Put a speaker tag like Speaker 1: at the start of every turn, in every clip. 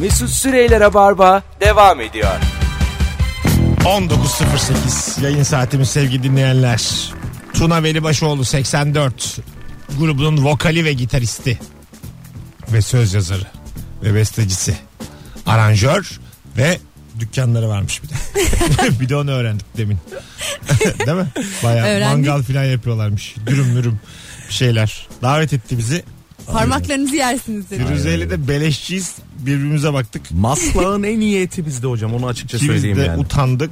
Speaker 1: Mesut Süreyler'e barba devam ediyor.
Speaker 2: 19.08 yayın saatimiz sevgili dinleyenler. Tuna Velibaşoğlu 84 grubunun vokali ve gitaristi ve söz yazarı ve bestecisi aranjör ve dükkanları varmış bir de. bir de onu öğrendik demin. Değil mi? Bayağı
Speaker 3: Öğrendik.
Speaker 2: mangal falan yapıyorlarmış. Dürüm mürüm bir şeyler. Davet etti bizi.
Speaker 3: Parmaklarınızı yersiniz dedi.
Speaker 2: Firuze'yle de beleşçiyiz. Birbirimize baktık.
Speaker 4: Maslağın en iyi eti bizde hocam onu açıkça
Speaker 2: İkimiz de
Speaker 4: şey söyleyeyim yani.
Speaker 2: utandık.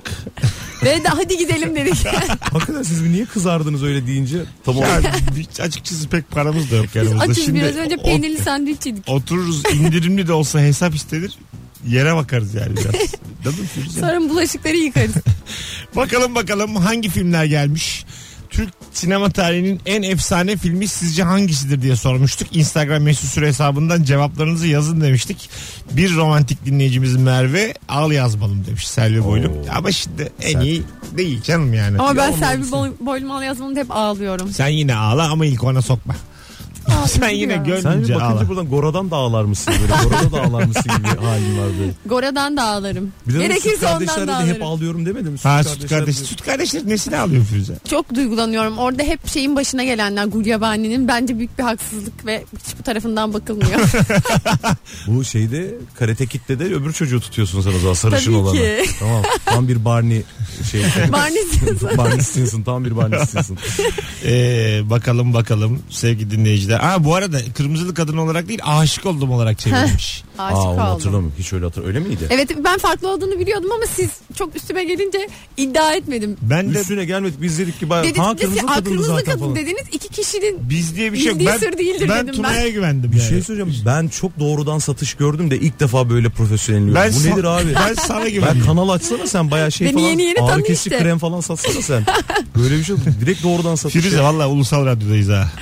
Speaker 3: Ve de hadi gidelim dedik.
Speaker 4: Hakikaten siz niye kızardınız öyle deyince? Tam
Speaker 2: Ya,
Speaker 4: olarak
Speaker 2: bir- açıkçası pek paramız da yok yanımızda.
Speaker 3: Açız
Speaker 2: Şimdi
Speaker 3: biraz önce
Speaker 2: o-
Speaker 3: peynirli sandviç yedik.
Speaker 2: otururuz indirimli de olsa hesap istenir. Yere bakarız yani biraz. Değil mi Firuze?
Speaker 3: Sonra bulaşıkları yıkarız.
Speaker 2: Bakalım bakalım hangi filmler gelmiş? Türk sinema tarihinin en efsane filmi sizce hangisidir diye sormuştuk. Instagram mesut süre hesabından cevaplarınızı yazın demiştik. Bir romantik dinleyicimiz Merve al yazmalım demiş Selvi Boylum.
Speaker 4: Oo.
Speaker 2: Ama şimdi en iyi değil canım yani.
Speaker 3: Ama ben
Speaker 2: Ya
Speaker 3: Selvi
Speaker 2: olmamışsın.
Speaker 3: Boy- Boylumal yazmanı hep ağlıyorum.
Speaker 2: Sen yine ağla ama ilk ona sokma. Sen yine
Speaker 3: ya.
Speaker 4: sen bir
Speaker 2: gönlünce
Speaker 4: bakınca
Speaker 2: ağla.
Speaker 4: buradan Gora'dan da ağlarmışsın böyle. Gora'da da ağlarmışsın gibi halin var böyle.
Speaker 3: Gora'dan da ağlarım.
Speaker 4: Bir de süt
Speaker 3: Gerekirse ondan
Speaker 4: kardeşlerle
Speaker 3: da
Speaker 4: de hep
Speaker 3: ağlarım.
Speaker 4: ağlıyorum demedim. mi? Süt
Speaker 2: Ha süt
Speaker 4: kardeşler
Speaker 2: kardeş.
Speaker 4: diyor.
Speaker 2: Süt kardeşler nesini ağlıyor Firuze?
Speaker 3: Çok duygulanıyorum. Orada hep şeyin başına gelenler Gulyabani'nin bence büyük bir haksızlık ve hiç bu tarafından bakılmıyor.
Speaker 4: Bu şeyde karate kitle de öbür çocuğu tutuyorsun sen o zaman sarışın
Speaker 3: Tabii
Speaker 4: olanı.
Speaker 3: ki.
Speaker 4: Tamam tam bir Barney şey.
Speaker 3: Barney Stinson.
Speaker 4: Barney Stinson tam bir Barney Stinson.
Speaker 2: Ee, bakalım bakalım sevgili dinleyiciler. Aa, bu arada kırmızılı kadın olarak değil aşık oldum olarak çevrilmiş.
Speaker 3: Aşık
Speaker 4: Aa onu
Speaker 3: oldum.
Speaker 4: hatırlamıyorum. Hiç öyle hatır. Öyle miydi?
Speaker 3: Evet ben farklı olduğunu biliyordum ama siz çok üstüme gelince iddia etmedim.
Speaker 2: ben de
Speaker 4: Üstüne gelmedik biz dedik ki bayağı.
Speaker 3: Dediniz,
Speaker 4: Ha kırmızı
Speaker 3: "Aa,
Speaker 4: kadındı
Speaker 3: kırmızı
Speaker 4: zaten
Speaker 3: kadın
Speaker 4: falan.
Speaker 3: dediniz iki kişinin
Speaker 2: biz diye bir şey yok.
Speaker 3: Bildiği
Speaker 2: Ben,
Speaker 3: sır değildir
Speaker 2: ben
Speaker 3: dedim
Speaker 2: Tuna'ya güvendim
Speaker 4: Bir
Speaker 2: yani.
Speaker 4: şey söyleyeceğim. Ben çok doğrudan satış gördüm de ilk defa böyle profesyonel.
Speaker 2: Ben
Speaker 4: Bu
Speaker 2: sa-
Speaker 4: nedir abi?
Speaker 2: Ben sana
Speaker 4: Ben
Speaker 2: güvendim.
Speaker 4: kanal açsana sen bayağı şey
Speaker 3: Beni
Speaker 4: falan.
Speaker 3: yeni yeni
Speaker 4: ağrı
Speaker 3: tanı
Speaker 4: kesici
Speaker 3: işte.
Speaker 4: krem falan satsana sen. Böyle bir şey yok. Direkt doğrudan satış.
Speaker 2: Firuze valla ulusal radyodayız ha.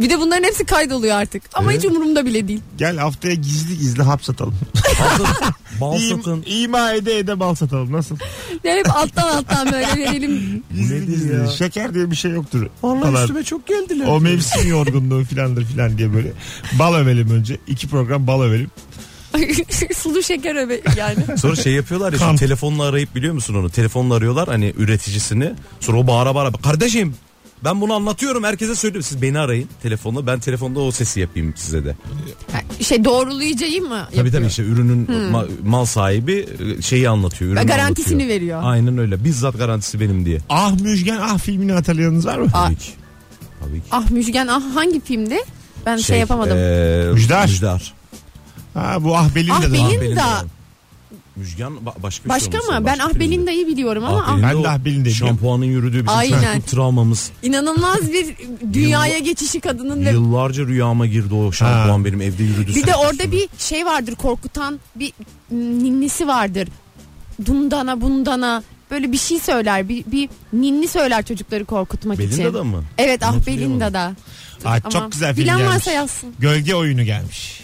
Speaker 3: bir de bunların hepsi kaydoluyor artık. Ama
Speaker 4: Evet.
Speaker 3: hiç umurumda bile değil.
Speaker 2: Gel haftaya gizli gizli hap satalım.
Speaker 4: Bal
Speaker 2: İm-
Speaker 4: satın.
Speaker 2: İma ede ede bal satalım nasıl?
Speaker 3: Ya hep alttan alttan böyle verelim.
Speaker 2: Gizli
Speaker 4: nedir
Speaker 2: gizli.
Speaker 4: ya?
Speaker 2: Şeker diye bir şey yoktur.
Speaker 4: Vallahi
Speaker 2: Falan.
Speaker 4: üstüme çok geldiler.
Speaker 2: O mevsim yorgunluğu filandır filan diye böyle. Bal övelim önce. İki program bal övelim.
Speaker 3: Sulu şeker öbe yani.
Speaker 4: Sonra şey yapıyorlar ya
Speaker 2: Kamp.
Speaker 4: şu telefonla arayıp biliyor musun onu? Telefonla arıyorlar hani üreticisini. Sonra o bağıra bağıra kardeşim ben bunu anlatıyorum herkese söylüyorum. Siz beni arayın telefonla ben telefonda o sesi yapayım size de.
Speaker 3: Şey doğrulayıcıyı mı?
Speaker 4: Tabii
Speaker 3: yapıyor? Hmm.
Speaker 4: tabii işte ürünün ma- mal sahibi e, şeyi anlatıyor. ürünü
Speaker 3: Garantisini
Speaker 4: anlatıyor.
Speaker 3: veriyor.
Speaker 4: Aynen öyle bizzat garantisi benim diye.
Speaker 2: Ah Müjgan Ah filmini hatırlayanınız var mı?
Speaker 3: Aa,
Speaker 4: Tabii ki. Tabii ki.
Speaker 3: ah Müjgan ah hangi filmdi? Ben şey, yapamadım.
Speaker 4: e,
Speaker 2: Müjdar.
Speaker 4: Müjdar.
Speaker 2: Ha, bu Ah Belin'de
Speaker 3: Ah
Speaker 2: de var.
Speaker 3: Belin-
Speaker 4: Ah, benim
Speaker 3: Belinda.
Speaker 4: de. Müjgan ba- başka bir
Speaker 3: Başka
Speaker 4: şey olması
Speaker 3: mı?
Speaker 4: lazım.
Speaker 3: Ben
Speaker 4: Başka
Speaker 3: Ah
Speaker 4: bir şey değil.
Speaker 3: Belinda'yı biliyorum ama
Speaker 4: Ah
Speaker 3: ah-
Speaker 2: Ben de Ah Belin'de biliyorum.
Speaker 4: Şampuanın yürüdüğü bizim
Speaker 3: Aynen.
Speaker 4: travmamız.
Speaker 3: ah, inanılmaz bir dünyaya geçişi kadının ve
Speaker 4: Yıllarca rüyama girdi o şampuan benim evde yürüdü.
Speaker 3: bir de
Speaker 4: sürekli
Speaker 3: orada
Speaker 4: sürekli.
Speaker 3: bir şey vardır korkutan bir mm, ninnisi vardır. Dundana bundana böyle bir şey söyler bir, bir ninni söyler çocukları korkutmak için.
Speaker 4: Belinda'da mı?
Speaker 3: Evet
Speaker 4: Bunu
Speaker 3: ah
Speaker 4: hatırlayamadım.
Speaker 3: Belinda'da.
Speaker 2: Aa,
Speaker 3: Ama
Speaker 2: çok güzel film
Speaker 3: bilen
Speaker 2: gelmiş.
Speaker 3: varsa yazsın.
Speaker 2: Gölge oyunu gelmiş.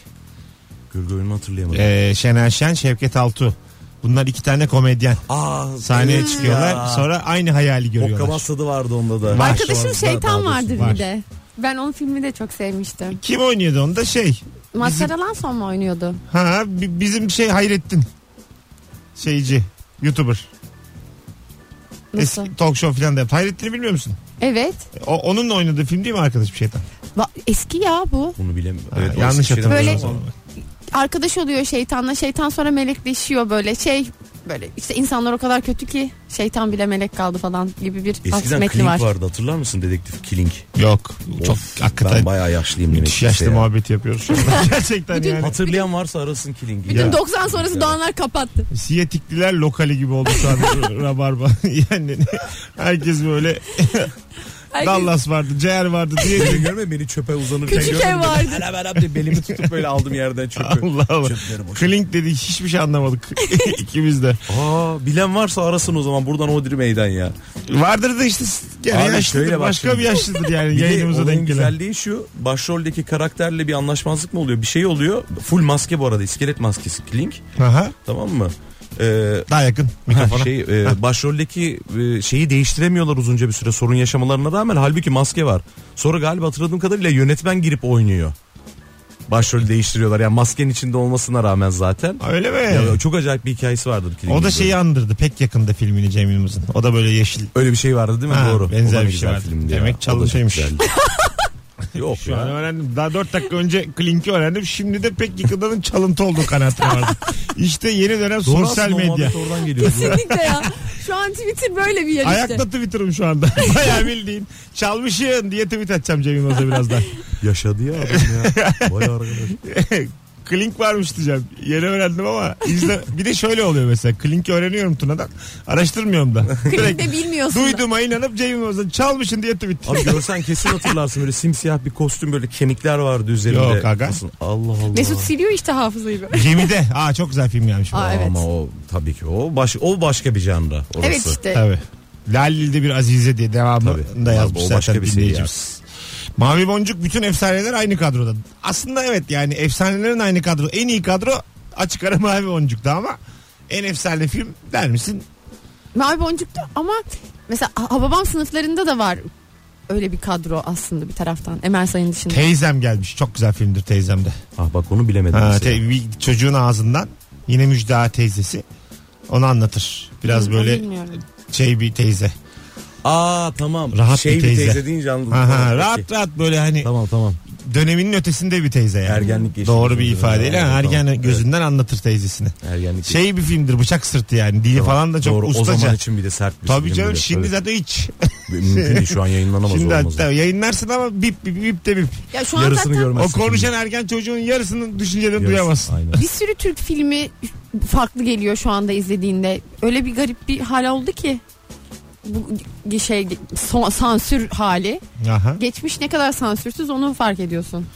Speaker 4: Gölge oyununu hatırlayamadım.
Speaker 2: Ee, Şener Şen, Şevket Altu. Bunlar iki tane komedyen.
Speaker 4: Aa,
Speaker 3: Hmm.
Speaker 2: Sahneye çıkıyorlar. Sonra aynı hayali görüyorlar.
Speaker 4: Hokkabaz tadı vardı onda da.
Speaker 2: Var.
Speaker 3: Arkadaşım
Speaker 4: Şu anda daha
Speaker 3: şeytan
Speaker 4: doğrusu
Speaker 3: vardır
Speaker 2: var.
Speaker 3: bir de. Ben onun filmi de çok sevmiştim.
Speaker 2: Kim oynuyordu onda şey?
Speaker 3: Mazhar son mu oynuyordu?
Speaker 2: Ha bi- bizim şey Hayrettin. Şeyci. Youtuber.
Speaker 3: Nasıl?
Speaker 2: Eski talk show falan da yaptı. Hayrettin'i bilmiyor musun?
Speaker 3: Evet.
Speaker 2: O, onunla oynadığı film değil mi arkadaş bir şeytan?
Speaker 3: Va- Eski ya bu.
Speaker 4: Bunu bilemiyorum.
Speaker 2: Ha,
Speaker 4: Evet, o
Speaker 2: yanlış
Speaker 4: şeyden
Speaker 2: hatırlamıyorum.
Speaker 4: bahsediyorum.
Speaker 3: Arkadaş oluyor şeytanla. Şeytan sonra melekleşiyor böyle şey böyle işte insanlar o kadar kötü ki şeytan bile melek kaldı falan gibi bir alt
Speaker 4: Eskiden
Speaker 3: metni
Speaker 4: Killing
Speaker 3: var.
Speaker 4: vardı hatırlar mısın dedektif Killing?
Speaker 2: Yok. Çok
Speaker 4: Of, Ben
Speaker 2: hakikaten
Speaker 4: bayağı yaşlıyım demek
Speaker 2: müthiş
Speaker 4: ki.
Speaker 2: yaşlı
Speaker 4: ya.
Speaker 2: muhabbeti yapıyoruz şu anda. Gerçekten
Speaker 3: Bütün-
Speaker 2: yani.
Speaker 4: Hatırlayan varsa arasın Killing'i.
Speaker 3: Bütün
Speaker 4: Ya.
Speaker 3: 90 sonrası doğanlar kapattı.
Speaker 2: Siyetikliler lokali gibi oldu şu an Rabarba. Yani herkes böyle
Speaker 3: Herkes-
Speaker 2: Dallas vardı, Ceğer vardı diye
Speaker 4: Beni görme beni çöpe uzanırken
Speaker 3: Küçük
Speaker 4: görmedin
Speaker 3: ev
Speaker 4: mi?
Speaker 3: vardı.
Speaker 4: Helal helal diye belimi tutup böyle aldım yerden çöpü.
Speaker 2: Allah Allah.
Speaker 4: Çöpleri boş.
Speaker 2: Klink dedi hiçbir şey anlamadık ikimiz de.
Speaker 4: Aa, bilen varsa arasın o zaman buradan Odri meydan ya.
Speaker 2: Vardır da işte s- gene
Speaker 4: Abi şöyle
Speaker 2: yaşlıdır.
Speaker 4: bak
Speaker 2: Başka
Speaker 4: şimdi.
Speaker 2: bir yaşlıdır yani
Speaker 4: Bir de
Speaker 2: yayınımıza
Speaker 4: olayın
Speaker 2: denk gelen.
Speaker 4: güzelliği şu başroldeki karakterle bir anlaşmazlık mı oluyor bir şey oluyor. Full maske bu arada iskelet maskesi Killing
Speaker 2: Aha,
Speaker 4: tamam mı? Ee,
Speaker 2: daha yakın mikrofona.
Speaker 4: ha, şey e, başroldeki e, şeyi değiştiremiyorlar uzunca bir süre sorun yaşamalarına rağmen halbuki maske var. Sonra galiba hatırladığım kadarıyla yönetmen girip oynuyor. Başrolü değiştiriyorlar. Yani maskenin içinde olmasına rağmen zaten.
Speaker 2: Öyle mi?
Speaker 4: Ya çok acayip bir hikayesi vardır. Killing
Speaker 2: o da şey-
Speaker 4: Blue'da.
Speaker 2: şeyi andırdı pek yakında filmini Cem Yılmaz'ın. O da böyle yeşil.
Speaker 4: Öyle bir şey vardı değil mi?
Speaker 2: Ha,
Speaker 4: Doğru.
Speaker 2: benzer
Speaker 4: O da
Speaker 2: bir
Speaker 4: ne
Speaker 2: şey
Speaker 4: güzel
Speaker 2: vardı.
Speaker 4: filmdi
Speaker 2: Demek
Speaker 4: ya. O da çok
Speaker 2: çalışıyormuş.
Speaker 4: güzeldi. Yok
Speaker 2: Şu an
Speaker 4: ya.
Speaker 2: öğrendim. Daha 4 dakika önce Klink'i öğrendim. Şimdi de pek yakındanın çalıntı olduğu kanaatine vardım. İşte yeni dönem
Speaker 4: Doğru
Speaker 2: sosyal
Speaker 4: aslında o
Speaker 2: medya.
Speaker 4: muhabbet Oradan geliyor.
Speaker 3: Kesinlikle ya. Şu an Twitter böyle bir yer işte.
Speaker 2: Ayakta Twitter'ım şu anda. Bayağı bildiğin. Çalmışın diye tweet atacağım Cem Yılmaz'a birazdan.
Speaker 4: Yaşadı ya adam ya. Vay arkadaş.
Speaker 2: Klink varmış diyeceğim. Yeni öğrendim ama izle... bir de şöyle oluyor mesela. Klink'i öğreniyorum Tuna'dan. Araştırmıyorum da. Direkt
Speaker 3: Klink'te bilmiyorsun. da.
Speaker 2: duyduğuma inanıp Cem Yılmaz'ın çalmışın diye tweet.
Speaker 4: Abi görsen kesin hatırlarsın böyle simsiyah bir kostüm böyle kemikler vardı üzerinde.
Speaker 2: Yok aga.
Speaker 4: Aslında Allah Allah.
Speaker 3: Mesut siliyor işte hafızayı böyle.
Speaker 2: Gemide. Aa çok güzel film gelmiş. bu.
Speaker 3: Aa, evet.
Speaker 4: Ama o tabii ki o baş o başka bir janra orası.
Speaker 3: Evet işte.
Speaker 2: Tabii. Lalil'de bir Azize diye
Speaker 4: E, Tabii.
Speaker 2: devamında
Speaker 4: Abi
Speaker 2: yazmış
Speaker 4: o başka
Speaker 2: zaten
Speaker 4: bir şey
Speaker 2: dinleyicimiz. Mavi Boncuk bütün efsaneler aynı kadroda. Aslında evet yani efsanelerin aynı kadro. En iyi kadro açık ara Mavi Boncuk'ta ama en efsane film der misin?
Speaker 3: Mavi boncukta ama mesela ha- Hababam sınıflarında da var öyle bir kadro aslında bir taraftan. Emel Sayın dışında.
Speaker 2: Teyzem gelmiş. Çok güzel filmdir Teyzem'de.
Speaker 4: Ah bak onu bilemedim.
Speaker 2: Ha,
Speaker 4: mesela.
Speaker 2: te- bir çocuğun ağzından yine Müjda teyzesi onu anlatır. Biraz
Speaker 3: Onu
Speaker 2: böyle
Speaker 3: bilmiyorum.
Speaker 2: şey bir teyze.
Speaker 4: Aa tamam.
Speaker 2: Rahat
Speaker 4: şey
Speaker 2: bir
Speaker 4: bir
Speaker 2: teyze.
Speaker 4: teyze. deyince anladım. Tamam,
Speaker 2: Aha,
Speaker 4: peki.
Speaker 2: rahat rahat böyle hani
Speaker 4: Tamam tamam.
Speaker 2: döneminin ötesinde bir teyze yani.
Speaker 4: Ergenlik geçti.
Speaker 2: Doğru bir ifadeyle
Speaker 4: Tamam,
Speaker 2: ergen
Speaker 4: tamam.
Speaker 2: gözünden anlatır teyzesini.
Speaker 4: Ergenlik geçti.
Speaker 2: Şey bir filmdir bıçak sırtı yani dili
Speaker 4: Tamam.
Speaker 2: falan da çok
Speaker 4: Doğru,
Speaker 2: ustaca.
Speaker 4: O zaman için bir de sert bir
Speaker 2: Tabii
Speaker 4: film
Speaker 2: canım
Speaker 4: bile.
Speaker 2: şimdi
Speaker 4: Evet.
Speaker 2: zaten hiç.
Speaker 4: Mümkün değil şu an yayınlanamaz
Speaker 2: şimdi
Speaker 4: olmaz.
Speaker 2: hatta yayınlarsın ama bip bip bip de bip.
Speaker 3: Ya şu an
Speaker 4: Yarısını
Speaker 3: zaten
Speaker 4: görmez.
Speaker 2: O
Speaker 4: Nasıl
Speaker 2: konuşan ergen çocuğun yarısının düşüncelerini
Speaker 4: Yarısı-
Speaker 2: duyamazsın.
Speaker 4: Aynen.
Speaker 3: bir sürü Türk filmi farklı geliyor şu anda izlediğinde. Öyle bir garip bir hal oldu ki bu ge- şey son- sansür hali.
Speaker 2: Aha.
Speaker 3: Geçmiş ne kadar sansürsüz onu fark ediyorsun.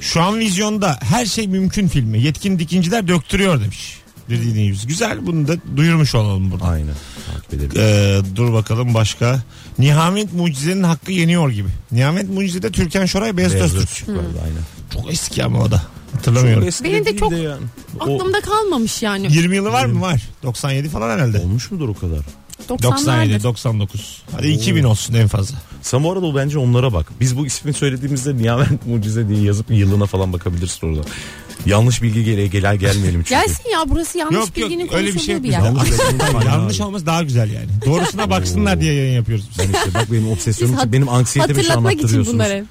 Speaker 2: Şu an vizyonda her şey mümkün filmi. Yetkin dikinciler döktürüyor demiş. Bir dinleyicimiz. Güzel bunu da duyurmuş olalım burada.
Speaker 4: Aynen. Takip edelim.
Speaker 2: Ee, dur babakalım başka. Nihamet Mucize'nin hakkı yeniyor gibi. Nihamet Mucize'de Türkan Şoray Beyaz
Speaker 4: Beyaz
Speaker 2: Öztürk.
Speaker 4: Öztürk vardı, aynen.
Speaker 2: Çok eski ama o da. Hatırlamıyorum.
Speaker 4: Çok
Speaker 3: Benim de
Speaker 4: eski
Speaker 3: çok
Speaker 4: değil yani. O-
Speaker 3: Aklımda kalmamış yani.
Speaker 2: 20 yılı var mı? Var. 97 falan herhalde.
Speaker 4: Olmuş mudur o kadar?
Speaker 3: 90'larda.
Speaker 2: 97, 99. Hadi
Speaker 4: Oo.
Speaker 2: 2000 olsun en fazla.
Speaker 4: Sen bu arada o bence onlara bak. Biz bu ismi söylediğimizde Nihavent Mucize diye yazıp yılına falan bakabilirsin orada. Yanlış bilgi gele gele gelmeyelim çünkü.
Speaker 3: Gelsin ya burası yanlış bilginin
Speaker 2: şey
Speaker 3: konuşulduğu bir yer.
Speaker 4: Yanlış
Speaker 2: Yanlış,
Speaker 4: bilginin-
Speaker 2: yanlış olmaz daha güzel yani. Doğrusuna baksınlar diye yayın yapıyoruz biz.
Speaker 4: Ben işte bak benim obsesyonum
Speaker 3: Biz
Speaker 4: için benim anksiyetemi şu an
Speaker 3: Hatırlatmak için
Speaker 4: arttırıyorsunuz.
Speaker 3: bunları.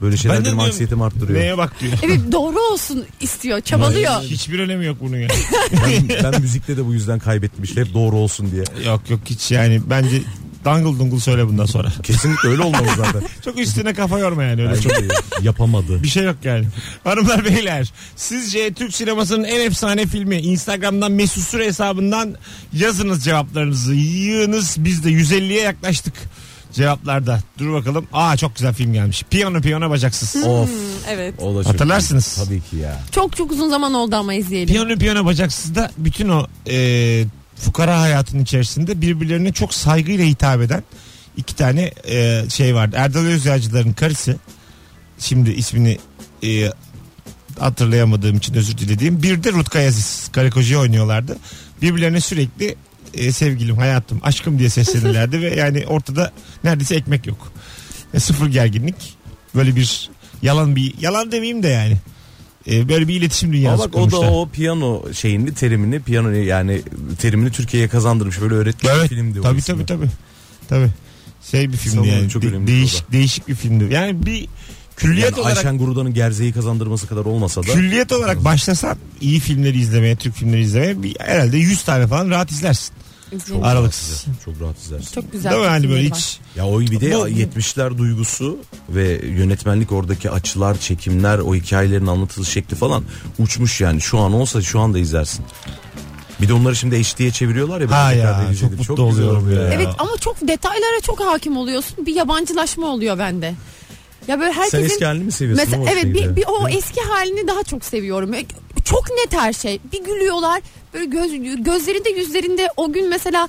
Speaker 4: Böyle şeyler
Speaker 2: Ben de
Speaker 4: benim
Speaker 2: diyorum,
Speaker 4: anksiyetemi arttırıyor.
Speaker 2: Neye bak diyor.
Speaker 3: Evet doğru olsun istiyor, çabalıyor.
Speaker 2: Hiçbir önemi yok bunun ya.
Speaker 4: Ben, ben müzikte de bu yüzden kaybetmişler. Hep doğru olsun diye.
Speaker 2: yok yok hiç yani bence dangle dungle söyle bundan sonra.
Speaker 4: Kesinlikle öyle olmalı zaten.
Speaker 2: Çok üstüne kafa yorma yani öyle
Speaker 4: Yani
Speaker 2: çok.
Speaker 4: çok iyi. yapamadı.
Speaker 2: Bir şey yok yani. Hanımlar beyler sizce Türk sinemasının en efsane filmi Instagram'dan Mesut Süre hesabından yazınız cevaplarınızı yığınız. Biz de 150'ye yaklaştık cevaplarda. Dur bakalım. Aa çok güzel film gelmiş. Piyano piyano bacaksız.
Speaker 4: of.
Speaker 3: Evet.
Speaker 4: O da çok
Speaker 2: Hatırlarsınız.
Speaker 4: iyi. Tabii ki ya.
Speaker 3: Çok çok uzun zaman oldu ama izleyelim.
Speaker 2: Piyano piyano bacaksız da bütün o e, fukara hayatının içerisinde birbirlerine çok saygıyla hitap eden iki tane e, şey vardı. Erdal Özyağcıların karısı şimdi ismini e, hatırlayamadığım için özür dilediğim bir de Rutkay Aziz karı kocayı oynuyorlardı. Birbirlerine sürekli e, sevgilim hayatım aşkım diye seslenirlerdi ve yani ortada neredeyse ekmek yok. E, sıfır gerginlik böyle bir yalan bir yalan demeyeyim de yani. E, böyle bir iletişim
Speaker 4: Ama
Speaker 2: dünyası
Speaker 4: bak o da
Speaker 2: kurmuşlar.
Speaker 4: o piyano şeyini terimini piyano yani terimini Türkiye'ye kazandırmış böyle öğretmiş bir
Speaker 2: Evet.
Speaker 4: Şey filmdi. o
Speaker 2: Tabii tabii
Speaker 4: aslında.
Speaker 2: tabii. Tabii. Şey bir filmdi
Speaker 4: Sanırım
Speaker 2: yani.
Speaker 4: çok
Speaker 2: De-
Speaker 4: önemli
Speaker 2: değişik
Speaker 4: bir
Speaker 2: değişik bir filmdi. Yani bir külliyet
Speaker 4: Yani
Speaker 2: olarak
Speaker 4: Ayşen Gurudan'ın gerzeği kazandırması kadar olmasa da.
Speaker 2: külliyet olarak başlasan iyi filmleri izlemeye, Türk filmleri izlemeye bir, herhalde 100 tane falan rahat izlersin.
Speaker 3: İzleyelim.
Speaker 4: rahat
Speaker 2: aralıksız.
Speaker 4: izlersin, Çok rahat izlersin.
Speaker 3: Çok güzel.
Speaker 2: Değil mi? Hani böyle
Speaker 3: filmleri var.
Speaker 2: hiç
Speaker 4: Ya o bir de
Speaker 2: Bu-
Speaker 4: 70'ler duygusu ve yönetmenlik oradaki açılar, çekimler, o hikayelerin anlatılış şekli falan uçmuş yani. Şu an olsa şu anda izlersin. Bir de onları şimdi HD'ye çeviriyorlar ya. ben
Speaker 2: Ha
Speaker 4: tekrar
Speaker 2: ya,
Speaker 4: da izledim.
Speaker 2: çok mutlu
Speaker 4: güzel
Speaker 2: oluyorum
Speaker 4: oluyor
Speaker 2: ya.
Speaker 3: Evet ama çok detaylara çok hakim oluyorsun. Bir yabancılaşma oluyor bende. Ya böyle
Speaker 4: Sen
Speaker 3: herkesin
Speaker 4: eski halini mi seviyorsun?
Speaker 3: Mesela
Speaker 4: O
Speaker 3: evet
Speaker 4: şeyde.
Speaker 3: bir, bir o
Speaker 4: Değil mi?
Speaker 3: eski halini daha çok seviyorum. E, Çok net her şey. Bir gülüyorlar. Böyle göz gözlerinde yüzlerinde o gün mesela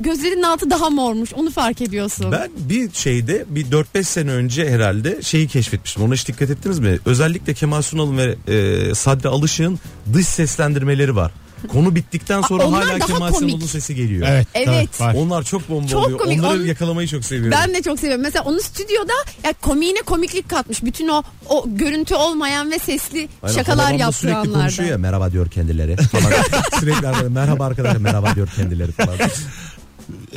Speaker 3: gözlerinin altı daha mormuş. Onu fark ediyorsun.
Speaker 4: Ben bir şeyde bir 4-5 sene önce herhalde şeyi keşfetmiştim. Ona hiç dikkat ettiniz mi? Özellikle Kemal Sunal'ın ve e, Sadri Alışık'ın dış seslendirmeleri var. Konu bittikten sonra
Speaker 3: Aa, onlar
Speaker 4: hala
Speaker 3: daha
Speaker 4: Kemal
Speaker 3: komik.
Speaker 4: Sunal'ın sesi geliyor.
Speaker 2: Evet.
Speaker 3: Evet.
Speaker 2: var.
Speaker 4: Onlar çok bomba
Speaker 3: Çok
Speaker 4: oluyor.
Speaker 3: komik.
Speaker 4: Onları
Speaker 3: On-
Speaker 4: yakalamayı çok seviyorum.
Speaker 3: Ben de çok seviyorum. Mesela onu stüdyoda ya komiğine komiklik katmış. Bütün o o görüntü olmayan ve sesli
Speaker 4: Aynen,
Speaker 3: şakalar
Speaker 4: Hababam da
Speaker 3: yaptığı
Speaker 4: sürekli
Speaker 3: anlarda.
Speaker 4: konuşuyor ya merhaba diyor kendileri falan. sürekli arada merhaba arkadaşlar merhaba diyor kendileri falan.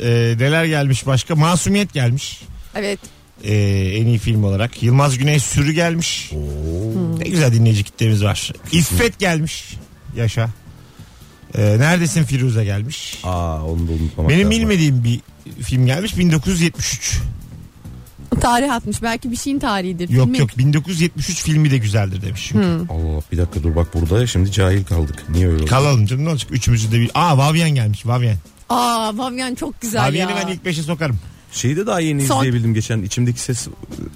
Speaker 2: Ee, neler gelmiş başka? Masumiyet gelmiş.
Speaker 3: Evet.
Speaker 2: Ee, en iyi film olarak. Yılmaz Güney Sürü gelmiş.
Speaker 3: Hmm.
Speaker 2: Ne güzel dinleyici kitlemiz var. İffet gelmiş. Yaşa. Ee, Neredesin Firuze gelmiş.
Speaker 4: Aa onu da unutmamak
Speaker 2: Benim
Speaker 4: lazım.
Speaker 2: bilmediğim bir film gelmiş 1973.
Speaker 3: Tarih atmış. Belki bir şeyin tarihidir.
Speaker 2: Yok
Speaker 3: Filmi- Hmm.
Speaker 2: yok 1973 filmi de güzeldir demiş. Çünkü.
Speaker 4: Allah Allah, bir dakika dur bak burada şimdi cahil kaldık. Niye öyle oldu?
Speaker 2: Kalalım canım ne olacak üçümüzü de bir. Aa Vavyen gelmiş Vavyen.
Speaker 3: Aa Vavyan çok güzel
Speaker 2: Vavyen'i
Speaker 3: ya.
Speaker 2: ben ilk beşe sokarım.
Speaker 4: Şeyi de daha yeni
Speaker 3: Son-
Speaker 4: izleyebildim geçen içimdeki ses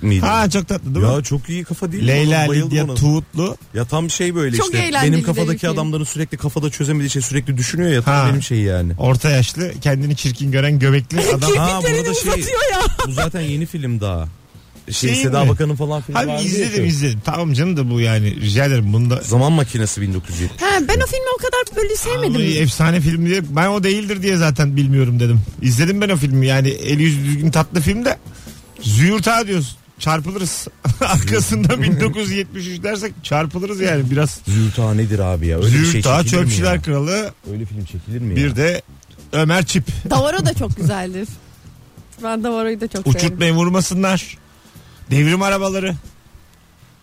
Speaker 4: miydi?
Speaker 2: Ha çok tatlı değil
Speaker 4: ya
Speaker 2: mi?
Speaker 4: çok iyi kafa değil mi?
Speaker 2: Leyla
Speaker 4: Oğlum, bayıldım
Speaker 2: Lidya
Speaker 4: ona.
Speaker 2: Tuğutlu.
Speaker 4: Ya tam şey böyle
Speaker 3: Çok
Speaker 4: işte.
Speaker 3: eğlenceli
Speaker 4: Benim
Speaker 3: bir
Speaker 4: kafadaki
Speaker 3: film.
Speaker 4: adamların sürekli kafada çözemediği şey sürekli düşünüyor ya. Tam
Speaker 2: Ha.
Speaker 4: benim şey yani.
Speaker 2: Orta yaşlı kendini çirkin gören göbekli adam.
Speaker 4: Ha
Speaker 3: Kirpiklerini
Speaker 4: burada şey-
Speaker 3: uzatıyor ya.
Speaker 4: Bu zaten yeni film daha. Şey,
Speaker 2: Şey
Speaker 4: Seda
Speaker 2: mi?
Speaker 4: Bakan'ın falan filmi
Speaker 2: Abi
Speaker 4: vardı ya
Speaker 2: izledim
Speaker 4: şu.
Speaker 2: izledim. Tamam canım da bu yani rica ederim. Bunda
Speaker 4: Zaman makinesi 1970.
Speaker 3: Ha, ben o filmi o kadar böyle sevmedim.
Speaker 2: Vallahi efsane film diye ben o değildir diye zaten bilmiyorum dedim. İzledim ben o filmi yani eli yüzü düzgün tatlı film de züğürt ha diyoruz. Çarpılırız. Arkasında 1973 dersek çarpılırız yani biraz.
Speaker 4: Zülta nedir abi ya? Öyle bir şey
Speaker 2: Züğürt ha
Speaker 4: çekilir mi
Speaker 2: çöpçüler
Speaker 4: ya?
Speaker 2: kralı
Speaker 4: Öyle film çekilir mi ya?
Speaker 2: bir de Ömer Çip.
Speaker 3: Davaro da çok güzeldir. Ben Davaro'yu da çok severim.
Speaker 2: Uçurtmayın vurmasınlar. Devrim arabaları.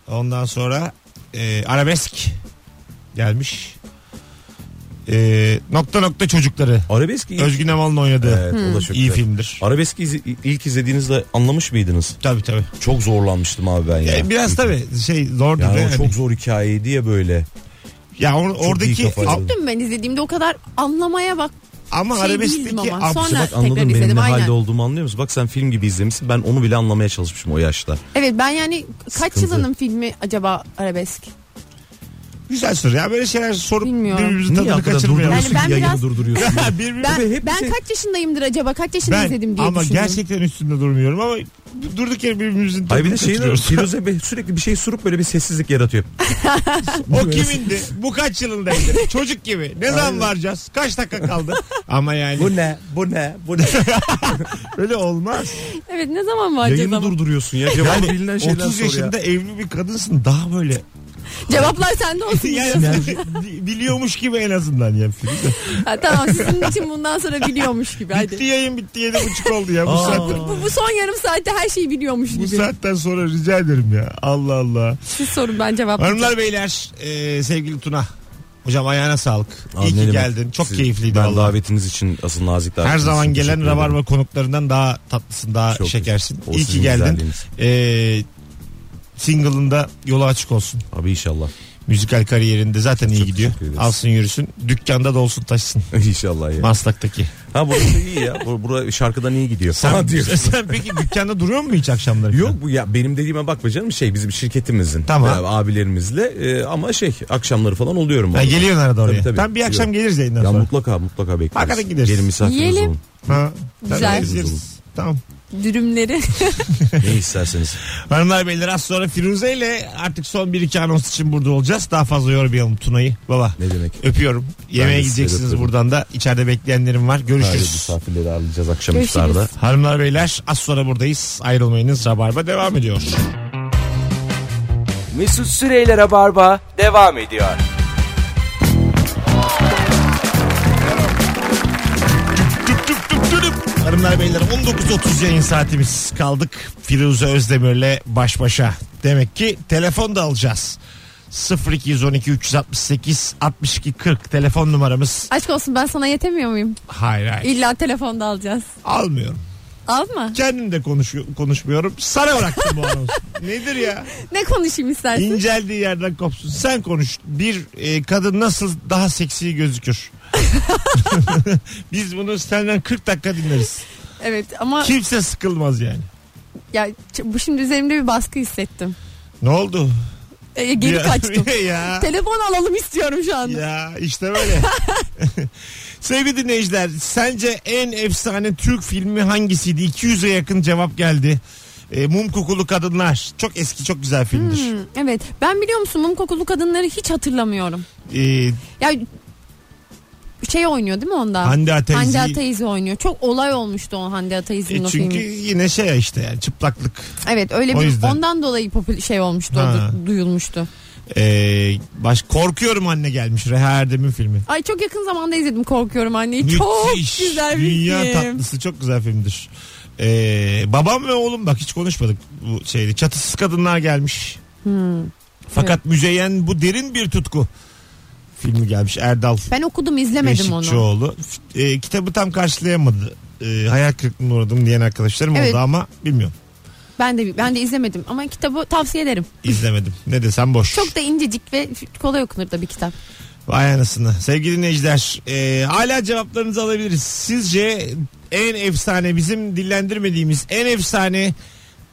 Speaker 2: Ondan sonra e, arabesk gelmiş. E, nokta nokta çocukları.
Speaker 4: Arabesk iyi.
Speaker 2: Özgün Emal'ın oynadığı
Speaker 4: Evet, o da çok
Speaker 2: iyi
Speaker 4: güzel.
Speaker 2: filmdir.
Speaker 4: Arabeski izi- ilk izlediğinizde anlamış mıydınız?
Speaker 2: Tabii tabii.
Speaker 4: Çok zorlanmıştım abi ben ya.
Speaker 2: E, biraz tabii şey zordu.
Speaker 4: Yani
Speaker 2: Yani
Speaker 4: o çok zor hikayeydi ya böyle.
Speaker 2: ya or- oradaki
Speaker 4: iyi kafaydı.
Speaker 2: a-
Speaker 3: Dün ben izlediğimde o kadar anlamaya bak.
Speaker 2: ama
Speaker 3: Şey değildim
Speaker 2: arabeskdeki
Speaker 3: ama.
Speaker 2: abs-
Speaker 3: Sonra-
Speaker 4: Bak
Speaker 3: tekrar
Speaker 4: anladım benim
Speaker 3: izledim,
Speaker 4: ne
Speaker 3: aynen.
Speaker 4: halde olduğumu anlıyor musun? Bak sen film gibi izlemişsin. Ben onu bile anlamaya çalışmışım o yaşta.
Speaker 3: Evet ben yani kaç
Speaker 4: Sıkıntı.
Speaker 3: yılının filmi acaba arabesk?
Speaker 2: güzel soru ya böyle şeyler sorup
Speaker 3: Bilmiyorum.
Speaker 2: birbirimizin
Speaker 4: Niye
Speaker 2: tadını
Speaker 4: arkada
Speaker 2: kaçırmayalım.
Speaker 4: durduruyorsun
Speaker 3: Yani ben
Speaker 4: ki yayını
Speaker 3: biraz-
Speaker 4: durduruyorsun? ya?
Speaker 2: Birbirimizi-
Speaker 3: Ben,
Speaker 4: hep
Speaker 3: ben
Speaker 4: şey-
Speaker 3: kaç yaşındayımdır acaba? Kaç yaşında
Speaker 2: ben
Speaker 3: izledim diye
Speaker 2: ama
Speaker 3: düşündüm.
Speaker 2: gerçekten üstünde durmuyorum ama durduk yere birbirimizin
Speaker 4: Hayır bir
Speaker 2: tadını
Speaker 4: de şey
Speaker 2: kaçırıyoruz.
Speaker 4: Firuze Bey sürekli bir şey sorup böyle bir sessizlik yaratıyor.
Speaker 2: O kimindi? Bu kaç yılındaydı? Çocuk gibi. Ne zaman varacağız? Kaç dakika kaldı? Ama yani
Speaker 4: Bu ne? Bu ne? Bu ne?
Speaker 2: öyle olmaz.
Speaker 3: Evet ne zaman var
Speaker 4: Yayını
Speaker 3: acaba?
Speaker 4: durduruyorsun ya. Cevabı bilinen şeyler
Speaker 2: 30
Speaker 4: sor ya.
Speaker 2: yaşında evli bir kadınsın daha böyle.
Speaker 3: Cevaplar sende olsun.
Speaker 2: Yani biliyormuş gibi en azından ya. Firuze.
Speaker 3: Ha, tamam sizin için bundan sonra biliyormuş gibi.
Speaker 2: Bitti
Speaker 3: Hadi.
Speaker 2: yayın bitti yedi buçuk oldu ya. Bu,
Speaker 4: Aa.
Speaker 2: saat,
Speaker 3: Bu, bu son yarım saatte her şeyi biliyormuş
Speaker 2: bu
Speaker 3: gibi.
Speaker 2: saatten sonra rica ederim ya. Allah Allah.
Speaker 3: Siz sorun ben cevaplayacağım.
Speaker 2: Hanımlar beyler e, sevgili Tuna. Hocam ayağına sağlık. İyi
Speaker 4: Abi ne
Speaker 2: ki
Speaker 4: demek?
Speaker 2: geldin. Çok
Speaker 4: Siz-
Speaker 2: keyifliydi
Speaker 4: ben
Speaker 2: vallahi.
Speaker 4: davetiniz için asıl nazik davetiniz
Speaker 2: Her zaman
Speaker 4: için teşekkür
Speaker 2: gelen
Speaker 4: ederim.
Speaker 2: rabarba konuklarından daha tatlısın, daha
Speaker 4: Çok
Speaker 2: şekersin.
Speaker 4: güzel. O
Speaker 2: İyi ki
Speaker 4: sizin
Speaker 2: geldin.
Speaker 4: güzelliğiniz.
Speaker 2: Ee, single'ında yolu açık olsun.
Speaker 4: Abi inşallah.
Speaker 2: Müzikal kariyerinde zaten iyi
Speaker 4: Çok
Speaker 2: gidiyor.
Speaker 4: teşekkür ederiz.
Speaker 2: Alsın yürüsün. Dükkanda da olsun taşsın.
Speaker 4: İnşallah ya.
Speaker 2: Maslak'taki.
Speaker 4: Ha burası iyi ya. Bur- Bura şarkıdan iyi gidiyor.
Speaker 2: Sen,
Speaker 4: Falan diyor.
Speaker 2: sen peki dükkanda duruyor mu hiç akşamları?
Speaker 4: Yok bu ya benim dediğime bakma canım şey bizim şirketimizin
Speaker 2: Tamam.
Speaker 4: e, abilerimizle e, ama şey akşamları falan oluyorum.
Speaker 2: Ha,
Speaker 4: orada.
Speaker 2: geliyorsun arada oraya.
Speaker 4: Tabii, tabii.
Speaker 2: Tam bir akşam
Speaker 4: Geliyorum.
Speaker 2: geliriz yayından
Speaker 4: Ya
Speaker 2: sonra.
Speaker 4: mutlaka mutlaka bekleriz.
Speaker 2: Hakikaten gideriz.
Speaker 4: Gelin misafiriniz
Speaker 3: Yiyelim.
Speaker 4: olun.
Speaker 2: Ha, tabii
Speaker 3: Güzel.
Speaker 2: gezeriz. Tamam.
Speaker 3: Dürümleri.
Speaker 4: Ne isterseniz.
Speaker 2: Hanımlar beyler az sonra Firuze ile artık son 1-2 anons için burada olacağız. Daha fazla yormayalım Tuna'yı. Baba
Speaker 4: Ne demek.
Speaker 2: öpüyorum. Yemeğe
Speaker 4: de sizi
Speaker 2: gideceksiniz
Speaker 4: öpüyorum.
Speaker 2: buradan da. İçeride bekleyenlerim var.
Speaker 4: Ayrı
Speaker 2: Görüşürüz.
Speaker 4: misafirleri ağırlayacağız akşam
Speaker 3: Görüşürüz.
Speaker 4: iftarda.
Speaker 2: Hanımlar beyler az sonra buradayız. Ayrılmayınız. Rabarba devam ediyor.
Speaker 1: Mesut Süreyler'e barba devam ediyor.
Speaker 2: Tüp tüp tüp tüp tüp. Hanımlar beyler 19.30 yayın saatimiz kaldık. Firuze Özdemir'le baş başa. Demek ki telefon da alacağız. 0212 368 62 40 telefon numaramız.
Speaker 3: Aşk olsun ben sana yetemiyor muyum?
Speaker 2: Hayır hayır.
Speaker 3: İlla telefonda alacağız.
Speaker 2: Almıyorum.
Speaker 3: Alma.
Speaker 2: Kendim de konuşuyor, konuşmuyorum. Sana bıraktım bu anonsu. Nedir ya?
Speaker 3: Ne konuşayım istersin?
Speaker 2: İnceldiği yerden kopsun. Sen konuş. Bir e, kadın nasıl daha seksi gözükür? Biz bunu senden 40 dakika dinleriz.
Speaker 3: Evet ama
Speaker 2: Kimse sıkılmaz yani.
Speaker 3: ya ç- bu şimdi üzerimde bir baskı hissettim.
Speaker 2: Ne oldu?
Speaker 3: E, geri
Speaker 2: ya,
Speaker 3: kaçtım.
Speaker 2: ya.
Speaker 3: Telefon alalım istiyorum şu anda.
Speaker 2: Ya işte böyle. Sevgili dinleyiciler sence en efsane Türk filmi hangisiydi? 200'e yakın cevap geldi. E, Mum Kokulu Kadınlar. Çok eski çok güzel filmdir.
Speaker 3: Hmm, evet ben biliyor musun mum kokulu kadınları hiç hatırlamıyorum.
Speaker 2: E,
Speaker 3: Ya şey oynuyor değil mi onda?
Speaker 2: Hande Ataizi-
Speaker 3: Hande Ataizi oynuyor. Çok olay olmuştu o Hande Ataizi'nin
Speaker 2: E
Speaker 3: o
Speaker 2: çünkü
Speaker 3: filmi.
Speaker 2: yine şey işte yani çıplaklık.
Speaker 3: Evet öyle
Speaker 2: O
Speaker 3: bir
Speaker 2: yüzden.
Speaker 3: ondan dolayı popül şey olmuştu o
Speaker 2: Ha.
Speaker 3: da duyulmuştu.
Speaker 2: Ee, baş korkuyorum anne gelmiş Reha Erdem'in filmi.
Speaker 3: Ay çok yakın zamanda izledim korkuyorum anneyi. E, Çok
Speaker 2: Müthiş.
Speaker 3: güzel bir
Speaker 2: Dünya
Speaker 3: film.
Speaker 2: tatlısı çok güzel filmdir. Ee, babam ve oğlum bak hiç konuşmadık bu şeyde. Çatısız kadınlar gelmiş.
Speaker 3: Hmm.
Speaker 2: Fakat müzeyen bu derin bir tutku. Filmi gelmiş Erdal
Speaker 3: Ben okudum izlemedim onu.
Speaker 2: Beşikçioğlu. Ee, kitabı tam karşılayamadı. Ee, hayal kırıklığına uğradım diyen arkadaşlarım
Speaker 3: Evet.
Speaker 2: oldu ama bilmiyorum.
Speaker 3: Ben de ben de izlemedim ama kitabı tavsiye ederim.
Speaker 2: İzlemedim. Ne desem boş.
Speaker 3: Çok da incecik ve kolay okunur da bir kitap.
Speaker 2: Vay anasını. Sevgili dinleyiciler e, hala cevaplarınızı alabiliriz. Sizce en efsane bizim dillendirmediğimiz en efsane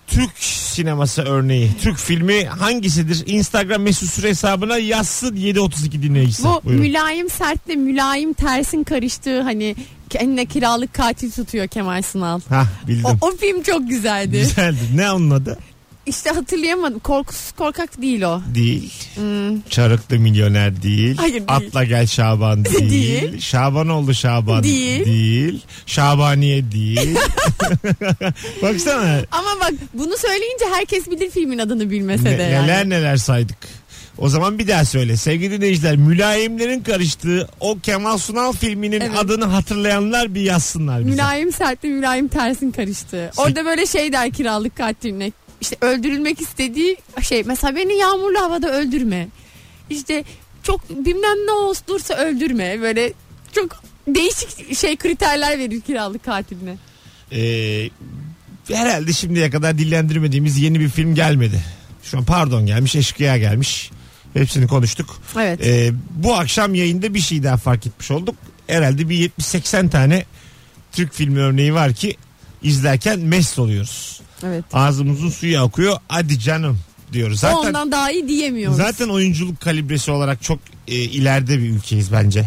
Speaker 2: Türk sineması örneği, Türk filmi hangisidir? Instagram mesut süre hesabına yazsın 732 dinleyicisi.
Speaker 3: Bu
Speaker 2: Buyurun.
Speaker 3: mülayim sertle mülayim tersin karıştığı hani kendine kiralık katil tutuyor Kemal Sunal.
Speaker 2: Hah
Speaker 3: O,
Speaker 2: bildim.
Speaker 3: o film çok güzeldi.
Speaker 2: Güzeldi. Ne onun adı?
Speaker 3: İşte hatırlayamadım. Korkusuz korkak değil o.
Speaker 2: Değil. Çarıklı milyoner değil.
Speaker 3: Hmm. Hayır, değil.
Speaker 2: Atla gel Şaban değil.
Speaker 3: Değil.
Speaker 2: Şaban oldu Şaban
Speaker 3: Değil.
Speaker 2: değil. Şabaniye değil. Baksana.
Speaker 3: Ama bak bunu söyleyince herkes bilir filmin adını bilmese
Speaker 2: Ne-
Speaker 3: de yani.
Speaker 2: neler neler saydık. O zaman bir daha söyle. Sevgili dinleyiciler mülayimlerin karıştığı o Kemal Sunal filminin
Speaker 3: Evet.
Speaker 2: adını hatırlayanlar bir yazsınlar bize.
Speaker 3: Mülayim sertle mülayim tersin karıştı. Orada böyle şey der kiralık katiline. İşte öldürülmek istediği şey. Mesela beni yağmurlu havada öldürme. İşte çok bilmem ne olursa öldürme. Böyle çok değişik şey kriterler verir kiralık katiline.
Speaker 2: Ee, herhalde şimdiye kadar dillendirmediğimiz yeni bir film gelmedi. Şu an pardon gelmiş Eşkıya gelmiş. Hepsini konuştuk.
Speaker 3: Evet.
Speaker 2: Ee, bu akşam yayında bir şey daha fark etmiş olduk. Herhalde bir 70-80 tane Türk filmi örneği var ki izlerken mest oluyoruz.
Speaker 3: evet.
Speaker 2: Ağzımızın suyu akıyor. Hadi canım diyoruz.
Speaker 3: O
Speaker 2: Zaten
Speaker 3: ondan daha iyi diyemiyoruz.
Speaker 2: Zaten oyunculuk kalibresi olarak çok e, ileride bir ülkeyiz bence.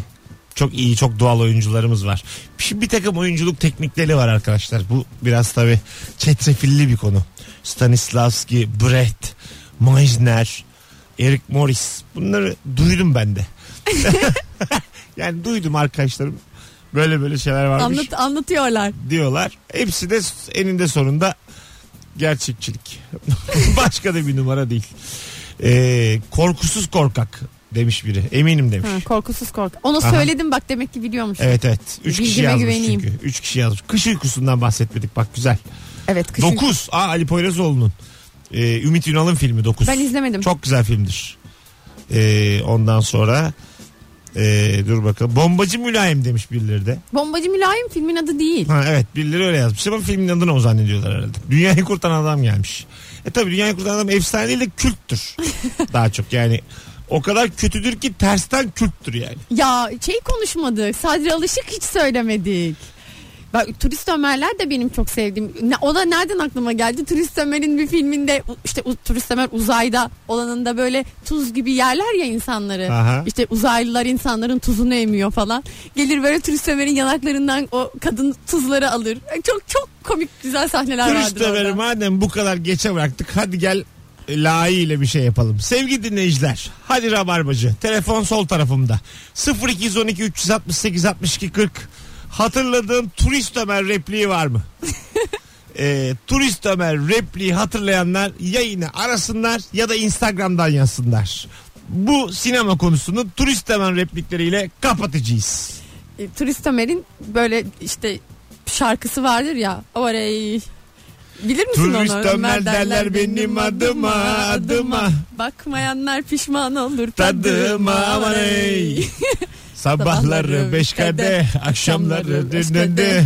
Speaker 2: Çok iyi, çok doğal oyuncularımız var. Şimdi bir takım oyunculuk teknikleri var arkadaşlar. Bu biraz tabii çetrefilli bir konu. Stanislavski, Brecht, Meisner, Eric Morris. Bunları duydum ben de. yani duydum arkadaşlarım. Böyle böyle şeyler varmış
Speaker 3: Anlat, anlatıyorlar.
Speaker 2: diyorlar. Hepsi de eninde sonunda gerçekçilik. Başka da bir numara değil. Ee, korkusuz korkak demiş biri. Eminim demiş.
Speaker 3: Ha, korkusuz korkak. Ona
Speaker 2: Aha.
Speaker 3: söyledim bak demek ki biliyormuş.
Speaker 2: Evet
Speaker 3: Evet,
Speaker 2: evet. Üç kişi
Speaker 3: Bilgime
Speaker 2: yazmış
Speaker 3: güveneyim.
Speaker 2: çünkü. Üç kişi yazmış. Kış uykusundan bahsetmedik bak güzel.
Speaker 3: kışın-
Speaker 2: Dokuz. Aa Ali Poyrazoğlu'nun. Ee, Ümit Ünal'ın filmi Dokuz.
Speaker 3: Ben izlemedim.
Speaker 2: Çok güzel filmdir. Ee, ondan sonra ee, dur bakalım. Bombacı Mülayim demiş birileri de.
Speaker 3: Bombacı Mülayim filmin adı değil.
Speaker 2: Ha evet birileri öyle yazmış ama filmin adını o zannediyorlar herhalde. Dünyayı kurtaran adam gelmiş. E tabi dünyayı kurtaran adam efsane değil de külttür. Daha çok yani o kadar kötüdür ki tersten külttür yani.
Speaker 3: Ya şey konuşmadık. Sadri Alışık hiç söylemedik. Bak Turist Ömerler de benim çok sevdiğim. Ne- O da nereden aklıma geldi? Turist Ömer'in bir filminde işte u- Turist Ömer uzayda olanında böyle tuz gibi yerler ya insanları.
Speaker 2: Aha.
Speaker 3: İşte uzaylılar insanların tuzunu emiyor falan. Gelir böyle Turist Ömer'in yanaklarından o kadın tuzları alır. Çok çok komik güzel sahneler vardır
Speaker 2: Kılıç
Speaker 3: orada.
Speaker 2: madem bu kadar geçe bıraktık hadi gel e, layığıyla bir şey yapalım. Sevgili dinleyiciler hadi Rabarbacı telefon sol tarafımda 0212 368 62 40 hatırladığın turist Ömer repliği var mı? e, turist Ömer repliği hatırlayanlar yayını arasınlar ya da Instagram'dan yazsınlar. Bu sinema konusunu turist Ömer replikleriyle kapatacağız.
Speaker 3: E, Turist Ömer'in böyle işte şarkısı vardır ya. Orey. Bilir misin
Speaker 2: Turist
Speaker 3: onu?
Speaker 2: Ömer derler benim adıma, adıma.
Speaker 3: Bakmayanlar pişman olur
Speaker 2: tadıma aman ey.
Speaker 3: orey.
Speaker 2: Sabahları beş kadeh, akşamları
Speaker 3: akşamları beş
Speaker 2: dönende.
Speaker 3: kadeh.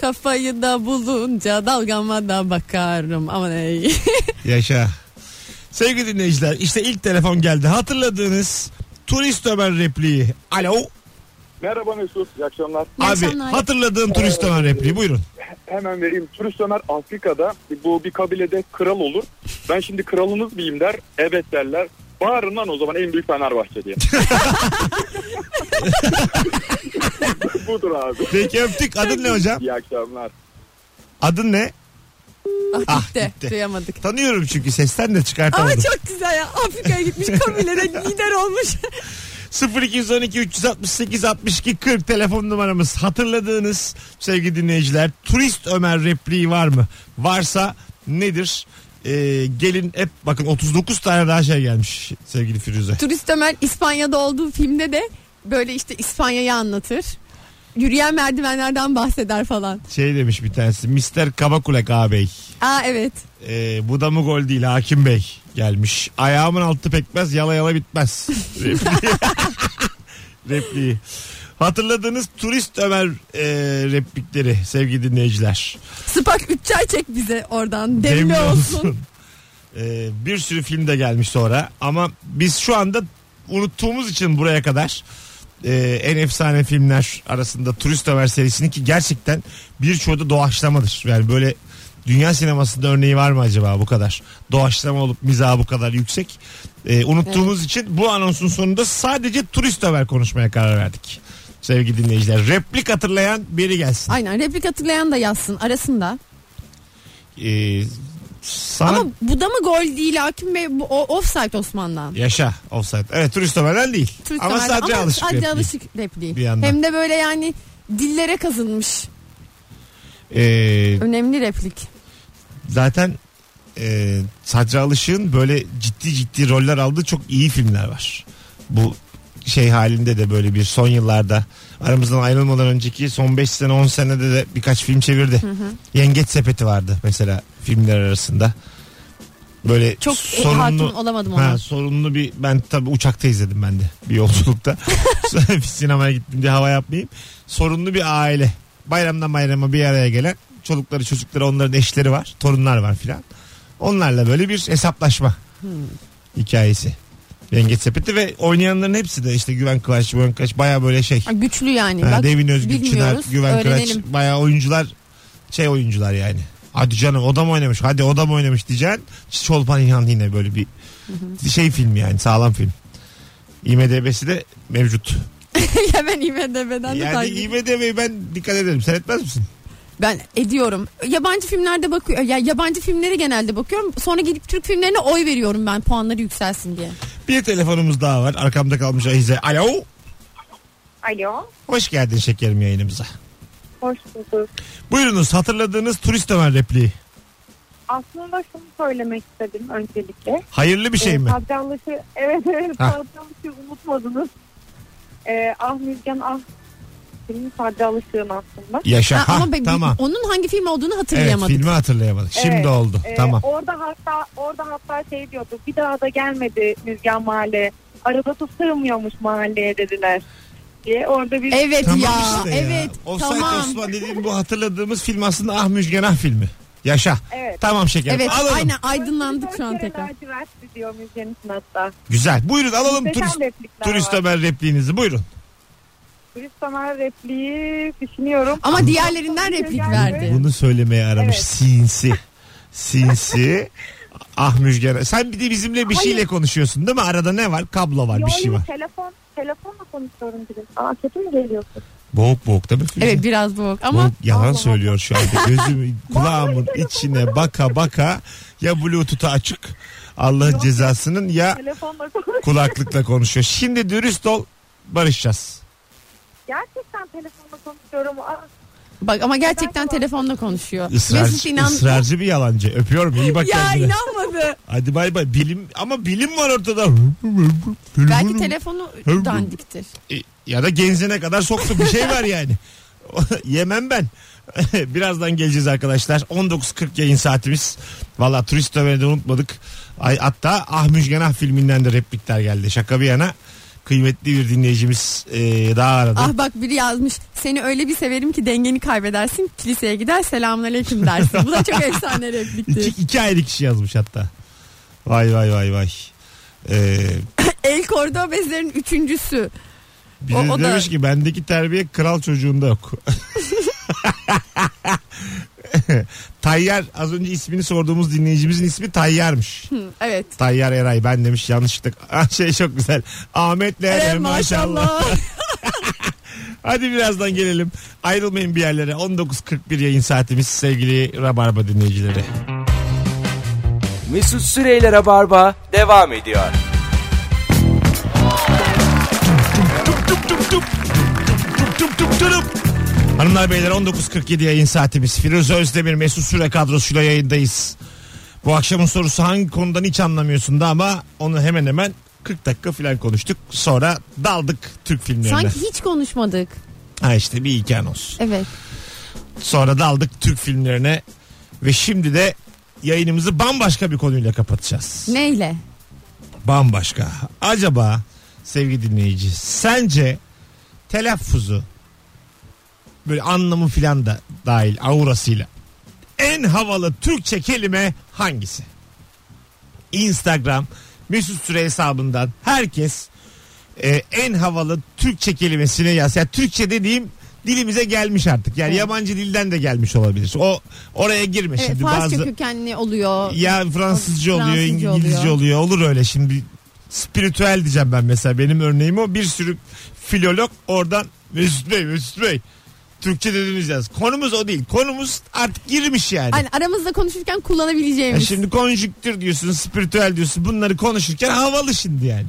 Speaker 3: Kafayı da bulunca dalgama da bakarım aman ey.
Speaker 2: Yaşa. Sevgili dinleyiciler işte ilk telefon geldi. Hatırladığınız turist Ömer repliği. Alo.
Speaker 5: Merhaba Mesut, iyi akşamlar.
Speaker 3: İyi
Speaker 2: Abi
Speaker 3: akşamlar.
Speaker 2: hatırladığın turist Ömer repliği buyurun.
Speaker 5: Hemen vereyim. Turist Ömer Afrika'da bu bir kabilede kral olur. Ben şimdi kralınız miyim der. Evet derler. Bağırın lan o zaman en büyük Fenerbahçe diye. Budur abi.
Speaker 2: Peki öptük. Adın ne hocam?
Speaker 5: İyi akşamlar.
Speaker 2: Adın ne?
Speaker 3: Ah
Speaker 2: Ah,
Speaker 3: gitti.
Speaker 2: gitti.
Speaker 3: Duyamadık.
Speaker 2: Tanıyorum çünkü sesten de
Speaker 3: Ama
Speaker 2: çıkartamadım.
Speaker 3: çok güzel ya. Afrika'ya gitmiş Kabile'de lider olmuş.
Speaker 2: 0212 368 62 40 telefon numaramız. Hatırladığınız sevgili dinleyiciler turist Ömer repliği var mı? Varsa nedir? Ee, gelin hep bakın 39 tane daha şey gelmiş sevgili Firuze.
Speaker 3: Turist Ömer İspanya'da olduğu filmde de böyle işte İspanya'yı anlatır. Yürüyen merdivenlerden bahseder falan.
Speaker 2: Şey demiş bir tanesi Mr. Kabakulak ağabey.
Speaker 3: Aa evet.
Speaker 2: Ee, bu da mı gol değil Hakim Bey gelmiş. Ayağımın altı pekmez yala yala bitmez. Repliği. Repliği. Hatırladığınız turist Ömer e, replikleri sevgili dinleyiciler.
Speaker 3: Spak 3 çay çek bize oradan. Demli,
Speaker 2: Demli
Speaker 3: olsun.
Speaker 2: Ee, bir sürü film de gelmiş sonra ama biz şu anda unuttuğumuz için buraya kadar e, en efsane filmler arasında Turist Ömer serisini ki gerçekten birçoğu da doğaçlamadır. Yani böyle dünya sinemasında örneği var mı acaba bu kadar? Doğaçlama olup mizahı bu kadar yüksek. Ee, unuttuğumuz için bu anonsun sonunda sadece Turist Ömer konuşmaya karar verdik. Sevgili dinleyiciler replik hatırlayan biri gelsin.
Speaker 3: Aynen replik hatırlayan da yazsın arasında.
Speaker 2: Ee, sana...
Speaker 3: Ama bu da mı gol değil Hakim Bey? Bu o- offside Osman'dan.
Speaker 2: Yaşa offside. Evet turist Ömer'den değil.
Speaker 3: Turist
Speaker 2: ama
Speaker 3: Ömer'den.
Speaker 2: sadece
Speaker 3: Ama
Speaker 2: alışık.
Speaker 3: sadece
Speaker 2: repliği.
Speaker 3: alışık repliği.
Speaker 2: Bir yandan.
Speaker 3: Hem de böyle yani dillere kazınmış.
Speaker 2: Ee,
Speaker 3: Önemli replik.
Speaker 2: zaten e, sadece alışığın böyle ciddi ciddi roller aldığı çok iyi filmler var. Bu şey halinde de böyle bir son yıllarda aramızdan ayrılmadan önceki son 5 sene 10 senede de birkaç film çevirdi. Yengeç Sepeti vardı mesela filmler arasında. Böyle
Speaker 3: Çok e,
Speaker 2: sorunlu-
Speaker 3: hakim olamadım ona.
Speaker 2: Ha, sorunlu bir ben tabii uçakta izledim ben de bir yolculukta. Sonra bir sinemaya gittim diye hava yapmayayım. Sorunlu bir aile. Bayramdan bayrama bir araya gelen çolukları çocukları onların eşleri var. Torunlar var filan. Onlarla böyle bir hesaplaşma hikayesi. Yengeç sepeti ve oynayanların hepsi de işte Güven Kıvanç, Güven Kıvanç baya böyle şey.
Speaker 3: Ha, Güçlü yani.
Speaker 2: Ha,
Speaker 3: Ee, Bak,
Speaker 2: Devin Özgür, Çınar,
Speaker 3: bilmiyoruz.
Speaker 2: Güven Kıraç
Speaker 3: Öğrenelim.
Speaker 2: baya oyuncular şey oyuncular yani. Hadi canım o da mı oynamış? Hadi o da mı oynamış diyeceksin. Çolpan İlhan yine böyle bir şey film yani sağlam film. IMDB'si de mevcut.
Speaker 3: Hemen IMDB'den de
Speaker 2: yani
Speaker 3: takip-
Speaker 2: IMDB'yi ben dikkat ederim. Sen etmez misin?
Speaker 3: Ben ediyorum. Yabancı filmlerde bakıyor. Ya yabancı filmleri genelde bakıyorum. Sonra gidip Türk filmlerine oy veriyorum ben puanları yükselsin diye.
Speaker 2: Bir telefonumuz daha var. Arkamda kalmış Ahize. Alo.
Speaker 6: Alo.
Speaker 2: Hoş geldin şekerim yayınımıza.
Speaker 6: Hoş bulduk.
Speaker 2: Buyurunuz hatırladığınız turist Ömer repliği.
Speaker 6: Aslında şunu söylemek istedim öncelikle.
Speaker 2: Hayırlı bir şey
Speaker 6: Ee,
Speaker 2: mi?
Speaker 6: Padyanlaşı, evet evet
Speaker 2: Ha.
Speaker 6: Padyanlaşı unutmadınız. Ee, ah Müjgan ah. Senin Padyanlaşığın aslında.
Speaker 2: Yaşa.
Speaker 3: Ha,
Speaker 2: Ha,
Speaker 3: ama ben,
Speaker 2: tamam.
Speaker 3: onun hangi film olduğunu
Speaker 2: Evet
Speaker 3: hatırlayamadım.
Speaker 2: filmi hatırlayamadık. Şimdi
Speaker 6: Evet,
Speaker 2: oldu.
Speaker 6: Ee,
Speaker 2: tamam.
Speaker 6: Orada hatta orada hatta şey diyordu. Bir daha da gelmedi Müjgan mahalle. Arada tutturmuyormuş mahalleye dediler. Diye orada bir
Speaker 3: Evet
Speaker 2: Tamam
Speaker 3: ya.
Speaker 2: işte ya.
Speaker 3: evet.
Speaker 2: Offside
Speaker 3: Tamam.
Speaker 2: Osman dediğim bu hatırladığımız film aslında Ah Müjgan Ah filmi. Yaşa.
Speaker 6: Evet.
Speaker 2: Tamam şekerim.
Speaker 3: Evet
Speaker 2: alalım.
Speaker 3: aynen aydınlandık şu an
Speaker 6: Dört kere
Speaker 3: tekrar.
Speaker 6: lacivertli diyor Müjgan için hatta.
Speaker 2: Güzel. Buyurun alalım
Speaker 6: Muhteşem
Speaker 2: turist,
Speaker 6: replikler
Speaker 2: turist
Speaker 6: var.
Speaker 2: Ömer repliğinizi. Buyurun.
Speaker 6: Turist Ömer repliği düşünüyorum.
Speaker 3: Ama diğerlerinden replik verdi.
Speaker 2: Bunu söylemeye aramış
Speaker 6: Evet.
Speaker 2: sinsi. Sinsi. Ah Müjgan. Sen bir de bizimle bir şeyle
Speaker 6: Hayır.
Speaker 2: konuşuyorsun değil mi? Arada ne var? Kablo var,
Speaker 6: Yo,
Speaker 2: bir şey
Speaker 6: yo,
Speaker 2: var.
Speaker 6: Telefon, telefonla konuşuyorum dedim. Aa kötü mü geliyorsun?
Speaker 2: Boğuk boğuk değil mi? Firuze?
Speaker 3: Evet biraz boğuk ama
Speaker 2: Oğlum, yalan
Speaker 6: Allah
Speaker 2: söylüyor şu anda. Gözüm kulağımın içine baka baka ya Bluetooth'a açık Allah'ın cezasının ya
Speaker 6: Telefonla konuş.
Speaker 2: kulaklıkla konuşuyor. Şimdi dürüst ol barışacağız.
Speaker 6: Gerçekten telefonla konuşuyorum. Aa,
Speaker 3: bak ama gerçekten telefonla konuşuyor. Mesut
Speaker 2: Israrcı,
Speaker 3: inan
Speaker 2: ısrarcı bir yalancı. Öpüyorum iyi bak
Speaker 3: ya
Speaker 2: kendine.
Speaker 3: inanmadı.
Speaker 2: Hadi bay bay. Bilim ama bilim var ortada.
Speaker 3: Belki telefonu dandiktir.
Speaker 2: E, ya da genzine kadar soktu bir şey var yani. Yemem ben. Birazdan geleceğiz arkadaşlar. 19.40 yayın saatimiz. Valla turist haberi de unutmadık. Ay, hatta Ah Müjgan Ah filminden de replikler geldi. Şaka bir yana kıymetli bir dinleyicimiz e, daha aradı.
Speaker 3: Ah bak biri yazmış. Seni öyle bir severim ki dengeni kaybedersin. Kiliseye gider selamünaleyküm dersin. Bu da çok efsane
Speaker 2: İki,
Speaker 3: replikti.
Speaker 2: iki ayrı kişi yazmış hatta. Vay vay vay vay. Ee,
Speaker 3: El Cordobes'lerin üçüncüsü.
Speaker 2: biri
Speaker 3: O- o da-
Speaker 2: demiş ki bendeki terbiye kral çocuğunda yok. Tayyar az önce ismini sorduğumuz dinleyicimizin ismi Tayyar'mış.
Speaker 3: Hı, evet.
Speaker 2: Tayyar Eray ben demiş yanlışlıkla. Ah, Şey çok güzel. Ahmet'le Eray,
Speaker 3: Evet,
Speaker 2: maşallah. Hadi birazdan gelelim. Ayrılmayın bir yerlere. 19.41 yayın saatimiz sevgili Rabarba dinleyicileri.
Speaker 1: Mesut Süreyler'e barba devam ediyor.
Speaker 2: Hanımlar beyler 19.47 yayın saatimiz. Firuze Özdemir Mesut Süre kadrosuyla yayındayız. Bu akşamın sorusu hangi konudan hiç anlamıyorsun da ama onu hemen hemen 40 dakika falan konuştuk. Sonra daldık Türk filmlerine.
Speaker 3: Sanki hiç konuşmadık.
Speaker 2: Ha işte bir hikaye olsun.
Speaker 3: Evet.
Speaker 2: Sonra daldık Türk filmlerine ve şimdi de yayınımızı bambaşka bir konuyla kapatacağız.
Speaker 3: Neyle?
Speaker 2: Bambaşka. Acaba sevgili dinleyici sence telaffuzu böyle anlamı filan da dahil aurasıyla en havalı Türkçe kelime hangisi? Instagram Mesut Süre hesabından herkes e, en havalı Türkçe kelimesini yaz. Yani Türkçe dediğim dilimize gelmiş artık. Yani
Speaker 3: Evet.
Speaker 2: yabancı dilden de gelmiş olabilir. O oraya girme
Speaker 3: Evet,
Speaker 2: şimdi
Speaker 3: Farsça
Speaker 2: bazı
Speaker 3: kökenli oluyor.
Speaker 2: ya Fransızca
Speaker 3: Fransızca
Speaker 2: oluyor, İngilizce oluyor.
Speaker 3: oluyor.
Speaker 2: Olur öyle şimdi. Spiritüel diyeceğim ben mesela. Benim örneğim o. Bir sürü filolog oradan Mesut Bey, Mesut Bey. Türkçe dediniz yaz. Konumuz o değil. Konumuz artık girmiş yani.
Speaker 3: Hani aramızda konuşurken
Speaker 2: Ya
Speaker 3: kullanabileceğimiz. Ya,
Speaker 2: E şimdi konjüktür diyorsun, spiritüel diyorsun. Bunları konuşurken havalı şimdi yani.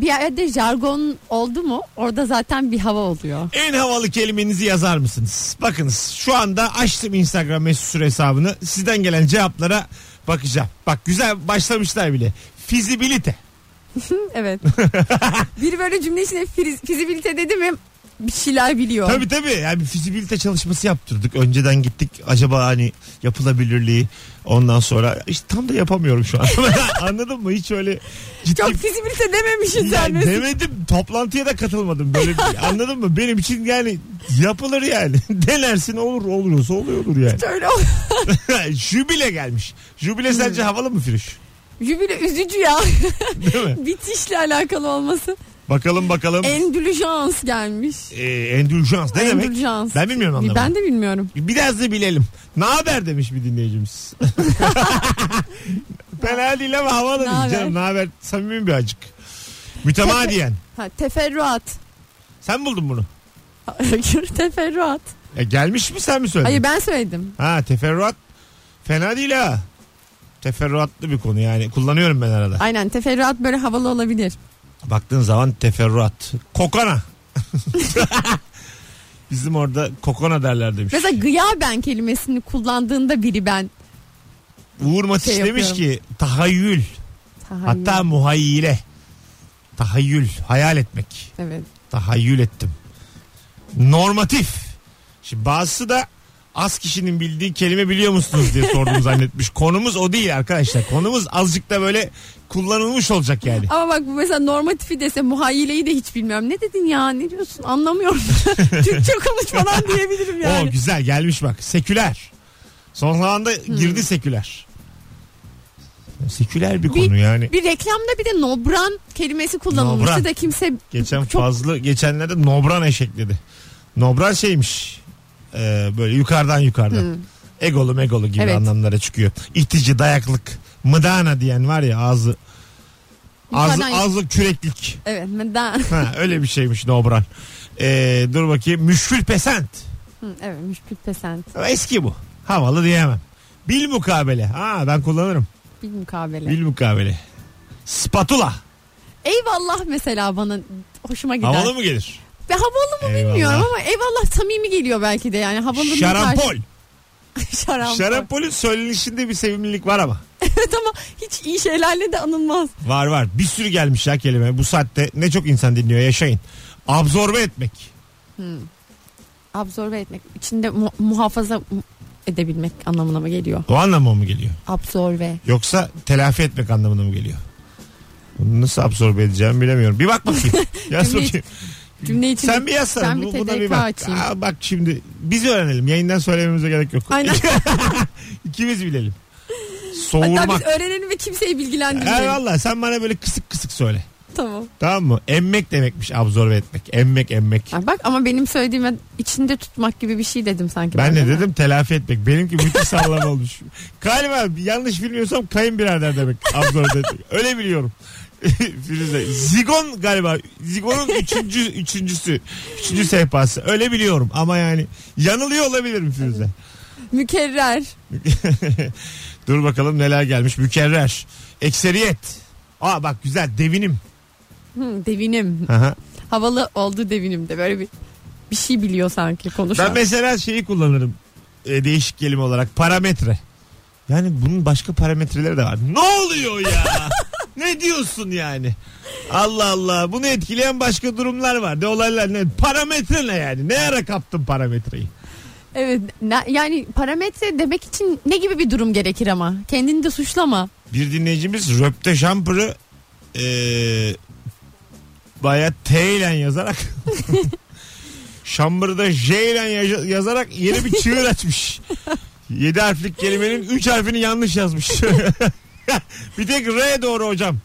Speaker 3: bir yerde jargon oldu mu orada zaten bir hava oluyor.
Speaker 2: En havalı kelimenizi yazar mısınız? Bakınız şu anda açtım Instagram mesut süre hesabını. Sizden gelen cevaplara bakacağım. Bak güzel başlamışlar bile. Fizibilite.
Speaker 3: Evet. Biri böyle cümle içinde fiz- fizibilite dedi mi bir şeyler biliyor.
Speaker 2: Tabii tabii. Yani bir fizibilite çalışması yaptırdık. Önceden gittik. Acaba hani yapılabilirliği ondan sonra işte tam da yapamıyorum şu an. Anladın mı? Hiç öyle ciddi
Speaker 3: Çok fizibilite dememişsin
Speaker 2: Ya
Speaker 3: sen Mesut.
Speaker 2: demedim. Toplantıya da katılmadım. Böyle bir- anladın mı? Benim için yani yapılır yani. Denersin olur olursa oluyor olur yani.
Speaker 3: Öyle ol-
Speaker 2: Jübile gelmiş. Jübile sence havalı mı Firuş?
Speaker 3: Jübile üzücü ya.
Speaker 2: Değil mi?
Speaker 3: Bitişle alakalı olması.
Speaker 2: Bakalım bakalım.
Speaker 3: Endülüjans gelmiş.
Speaker 2: Ee, endulcans ne
Speaker 3: Endulcans.
Speaker 2: demek? Ben bilmiyorum anlamını.
Speaker 3: Ben de bilmiyorum.
Speaker 2: Biraz da bilelim. Ne haber demiş bir dinleyicimiz. Fena değil ama havalı
Speaker 3: Ne
Speaker 2: değil
Speaker 3: haber?
Speaker 2: canım. Ne haber? Samimi bir acık. Mütemadiyen.
Speaker 3: Ha, teferruat.
Speaker 2: sen buldun bunu.
Speaker 3: teferruat.
Speaker 2: E, gelmiş mi sen mi söyledin?
Speaker 3: Hayır ben söyledim.
Speaker 2: Ha teferruat. Fena değil ha. Teferruatlı bir konu yani. Kullanıyorum ben arada.
Speaker 3: Aynen teferruat böyle havalı olabilir.
Speaker 2: Baktığın zaman teferruat. Kokona. Bizim orada kokona derler demiş.
Speaker 3: Mesela gıyaben kelimesini kullandığında biri ben.
Speaker 2: Uğur Matiç
Speaker 3: şey
Speaker 2: demiş ki tahayyül.
Speaker 3: Tahayyül.
Speaker 2: Hatta muhayyile. Tahayyül. Hayal etmek.
Speaker 3: Evet.
Speaker 2: tahayyül ettim. Normatif. Şimdi bazısı da az kişinin bildiği kelime biliyor musunuz diye sordum zannetmiş. Konumuz o değil arkadaşlar. Konumuz azıcık da böyle kullanılmış olacak yani.
Speaker 3: Ama bak bu mesela normatifi dese muhayyileyi de hiç bilmiyorum. Ne dedin ya ne diyorsun anlamıyorum. Türkçe konuş falan diyebilirim yani.
Speaker 2: O güzel gelmiş bak. Seküler. Son zamanda
Speaker 3: Hmm.
Speaker 2: girdi seküler. Seküler bir
Speaker 3: Bir-
Speaker 2: konu yani.
Speaker 3: Bir reklamda bir de nobran kelimesi kullanılmıştı
Speaker 2: Nobran.
Speaker 3: da kimse
Speaker 2: Geçen
Speaker 3: çok
Speaker 2: fazla geçenlerde Nobran eşekledi. Nobran şeymiş. e, böyle yukarıdan yukarıdan. Egolu megolu gibi
Speaker 3: Hmm. Evet.
Speaker 2: anlamlara çıkıyor. İtici, dayaklık, mıdana diyen var ya ağzı. Ağzı,
Speaker 3: Yukarıdan-
Speaker 2: ağzı küreklik.
Speaker 3: evet neden?
Speaker 2: Ha, öyle bir şeymiş Nobran. E, dur bakayım. Müşfül pesent.
Speaker 3: Hı, evet müşkül pesent.
Speaker 2: Ama Eski bu. Havalı diyemem. Bil mukabele. Ha ben kullanırım.
Speaker 3: Bir mukabele.
Speaker 2: Bil mukabele. Spatula.
Speaker 3: Eyvallah mesela bana hoşuma gider.
Speaker 2: Havalı mı gelir?
Speaker 3: Ve havalı mı
Speaker 2: Eyvallah.
Speaker 3: bilmiyorum ama eyvallah samimi geliyor belki de yani. Havalı bir
Speaker 2: Şarampol.
Speaker 3: karşı- Şarampol.
Speaker 2: Şarampolün söylenişinde bir sevimlilik var ama.
Speaker 3: evet ama hiç iyi şeylerle de anılmaz.
Speaker 2: Var var. Bir sürü gelmiş ya kelime. Bu saatte ne çok insan dinliyor yaşayın. Absorbe etmek.
Speaker 3: Absorbe etmek. içinde mu- muhafaza mu- edebilmek anlamına mı geliyor?
Speaker 2: O anlamı mı geliyor?
Speaker 3: Absorbe.
Speaker 2: Yoksa telafi etmek anlamına mı geliyor? Bunu nasıl absorbe edeceğimi bilemiyorum. Bir bak bakayım. Yaz
Speaker 3: Cümle-
Speaker 2: bakayım.
Speaker 3: Cümle içinde.
Speaker 2: Sen bir yazsana.
Speaker 3: Ben bir
Speaker 2: Bu- buna
Speaker 3: TDK
Speaker 2: bak.
Speaker 3: açayım.
Speaker 2: Aa, bak şimdi biz öğrenelim. Yayından söylememize gerek yok.
Speaker 3: Aynen.
Speaker 2: İkimiz bilelim.
Speaker 3: Hatta biz
Speaker 2: Soğurmak.
Speaker 3: öğrenelim ve kimseyi bilgilendirmeyelim.
Speaker 2: Eyvallah sen bana böyle kısık kısık söyle.
Speaker 3: Tamam.
Speaker 2: Tamam mı? Emmek demekmiş absorbe etmek. Emmek emmek.
Speaker 3: Ay bak ama benim söylediğime içinde tutmak gibi bir şey dedim sanki.
Speaker 2: Ben
Speaker 3: de
Speaker 2: ne dedim? Telafi etmek. Benimki müthiş sallama olmuş. Galiba yanlış bilmiyorsam kayınbirader demek. Absorbe etmek. Öyle biliyorum. Firuze. Zigon galiba. Zigon'un üçüncü, üçüncüsü. Üçüncü sehpası. Öyle biliyorum ama yani yanılıyor olabilirim Firuze.
Speaker 3: Mükerrer.
Speaker 2: Dur bakalım neler gelmiş. Mükerrer. Ekseriyet. Aa bak güzel devinim.
Speaker 3: Hı, devinim.
Speaker 2: Aha.
Speaker 3: Havalı oldu devinim de böyle bir Bir şey biliyor sanki konuşan.
Speaker 2: Ben mesela şeyi kullanırım. e, değişik kelime olarak parametre. Yani bunun başka parametreleri de var. Ne oluyor ya? ne diyorsun yani? Allah Allah. Bunu etkileyen başka durumlar var. Ne olaylar ne? Parametre ne yani? Ne ara kaptın parametreyi?
Speaker 3: Evet ne- yani parametre demek için ne gibi bir durum gerekir ama? Kendini de suçlama.
Speaker 2: Bir dinleyicimiz röpte şampırı e, baya T ile yazarak şambırda J ile ya- yazarak yeni bir çığır açmış. 7 harflik kelimenin 3 harfini yanlış yazmış. bir tek R doğru hocam.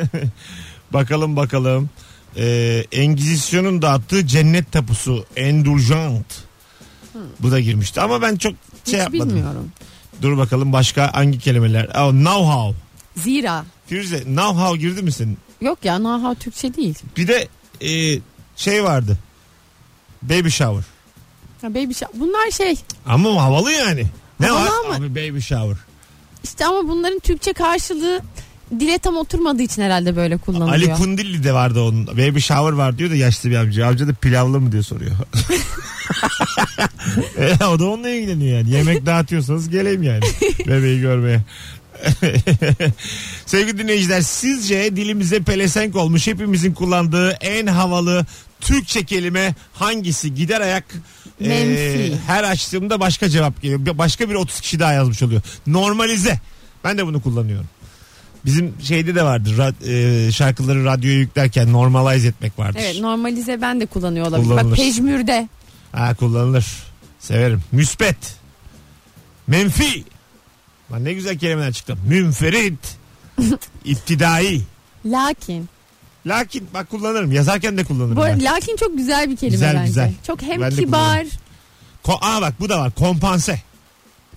Speaker 2: bakalım bakalım. E, Engizisyon'un dağıttığı cennet tapusu Endulgent. Bu da girmişti ama ben çok
Speaker 3: Hiç
Speaker 2: şey yapmadım.
Speaker 3: bilmiyorum.
Speaker 2: Dur bakalım başka hangi kelimeler? Oh, know how.
Speaker 3: Zira.
Speaker 2: Firuze now how girdi misin?
Speaker 3: Yok ya naha Türkçe değil.
Speaker 2: Bir de e, şey vardı. Baby shower.
Speaker 3: Ya baby shower- Bunlar şey
Speaker 2: Ama havalı yani. Ne
Speaker 3: Havalı
Speaker 2: var?
Speaker 3: ama-
Speaker 2: Abi baby shower.
Speaker 3: işte ama bunların Türkçe karşılığı dile tam oturmadığı için herhalde böyle kullanılıyor.
Speaker 2: Ali Kundilli de vardı onun. Baby shower var diyor da yaşlı bir amca. Amca da pilavlı mı diye soruyor. E, o da onunla ilgileniyor yani. Yemek dağıtıyorsanız geleyim yani. Bebeği görmeye. Sevgili dinleyiciler sizce dilimize pelesenk olmuş hepimizin kullandığı en havalı Türkçe kelime hangisi? Gider ayak e,
Speaker 3: Menfi.
Speaker 2: her açtığımda başka cevap geliyor. Bir- Başka bir 30 kişi daha yazmış oluyor. Normalize. Ben de bunu kullanıyorum. Bizim şeyde de vardır ra- e, şarkıları radyoya yüklerken normalize etmek vardır.
Speaker 3: Evet normalize ben de kullanıyor olabilirim.
Speaker 2: Kullanılır.
Speaker 3: Bak pejmürde.
Speaker 2: Ha kullanılır. Severim. Müspet. Menfi. Lan ne güzel kelimeler çıktı. Münferit. İptidai.
Speaker 3: Lakin.
Speaker 2: Lakin bak kullanırım. Yazarken de kullanırım.
Speaker 3: Bu
Speaker 2: ben.
Speaker 3: lakin çok güzel bir kelime
Speaker 2: Güzel,
Speaker 3: bence.
Speaker 2: güzel.
Speaker 3: Çok hem
Speaker 2: Ben de
Speaker 3: kibar.
Speaker 2: Ko- Aa bak bu da var. Kompanse.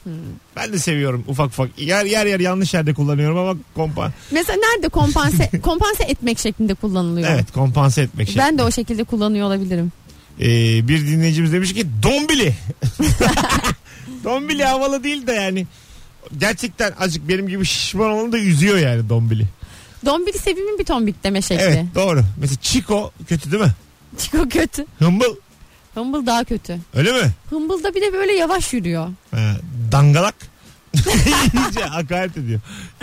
Speaker 3: Hmm.
Speaker 2: Ben de seviyorum ufak ufak. Yer yer yer yanlış yerde kullanıyorum ama kompan.
Speaker 3: Mesela nerede kompanse kompanse etmek şeklinde kullanılıyor.
Speaker 2: Evet kompanse etmek şey.
Speaker 3: Ben de o şekilde kullanıyor olabilirim.
Speaker 2: Ee, bir dinleyicimiz demiş ki dombili. dombili havalı değil de yani. Gerçekten azıcık benim gibi şişman olanı da üzüyor yani dombili.
Speaker 3: Dombili sevimin bir tombik deme şekli.
Speaker 2: Evet doğru. Mesela Chico kötü değil mi?
Speaker 3: Çiko kötü.
Speaker 2: Hımbıl
Speaker 3: Humble daha kötü.
Speaker 2: öyle mi?
Speaker 3: Humble'da bir de böyle yavaş yürüyor.
Speaker 2: Ha, dangalak. İyice hakaret ediyor.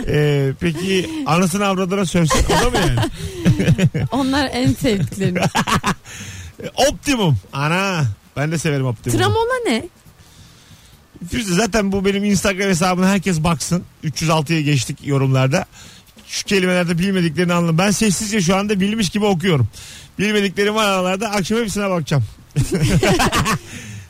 Speaker 2: Ee, peki anasını avradına sövsün o da mı yani?
Speaker 3: Onlar en sevdiklerim.
Speaker 2: Ee, Optimum. Ana ben de severim optimum.
Speaker 3: Tramola ne?
Speaker 2: Firuze zaten bu benim Instagram hesabına herkes baksın. 306'ya geçtik yorumlarda. Şu kelimelerde bilmediklerini anladım. Ben sessizce şu anda bilmiş gibi okuyorum. Bilmediklerim var aralarda. Akşam hepsine bakacağım.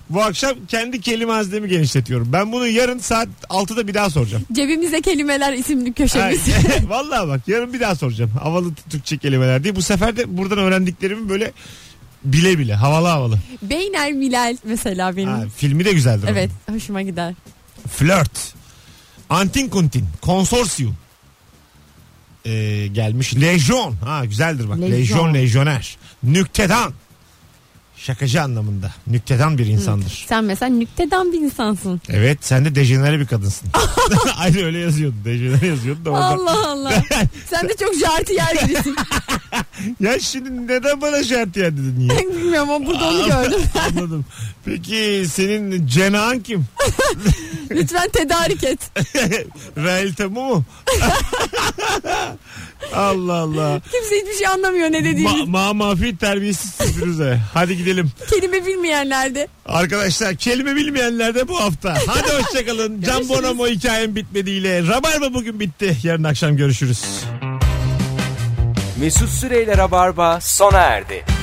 Speaker 2: bu akşam kendi kelime haznemi genişletiyorum. Ben bunu yarın saat 6'da bir daha soracağım.
Speaker 3: Cebimize kelimeler isimli köşemiz.
Speaker 2: Ay, Vallahi bak yarın bir daha soracağım. Havalı Türkçe kelimeler diye. Bu sefer de buradan öğrendiklerimi böyle bile bile havalı havalı.
Speaker 3: Beynel Milal mesela benim.
Speaker 2: Ha, filmi de güzeldir. onun.
Speaker 3: evet hoşuma gider.
Speaker 2: Flört. Antin kuntin. Konsorsiyum. Ee, gelmiş. Lejyon. Ha güzeldir bak.
Speaker 3: Lejyon.
Speaker 2: Lejyon, lejyoner. Nüktedan. Şakacı anlamında. Nüktedan bir insandır.
Speaker 3: Sen mesela nüktedan bir insansın.
Speaker 2: Evet sen de dejenere bir kadınsın. Aynı öyle yazıyordun. Dejenere yazıyordun da orada.
Speaker 3: Allah Allah. Sen de çok jartiyer birisin.
Speaker 2: Ya şimdi neden bana şart ya dedin ya?
Speaker 3: Bilmiyorum ama burada onu
Speaker 2: Aa,
Speaker 3: gördüm.
Speaker 2: Anladım. Peki senin cenahın kim?
Speaker 3: Lütfen tedarik et.
Speaker 2: Rael Tamu mu? Allah Allah.
Speaker 3: Kimse hiçbir şey anlamıyor ne
Speaker 2: Ma,
Speaker 3: dediğini.
Speaker 2: ma mafi terbiyesiz Firuze. Hadi gidelim.
Speaker 3: Kelime bilmeyenler de.
Speaker 2: Arkadaşlar kelime bilmeyenler de bu hafta. Hadi hoşçakalın. Can Bonomo hikayem bitmediyle. Rabarba bugün bitti. Yarın akşam görüşürüz.
Speaker 1: Mesut Süreyler'e barba sona erdi.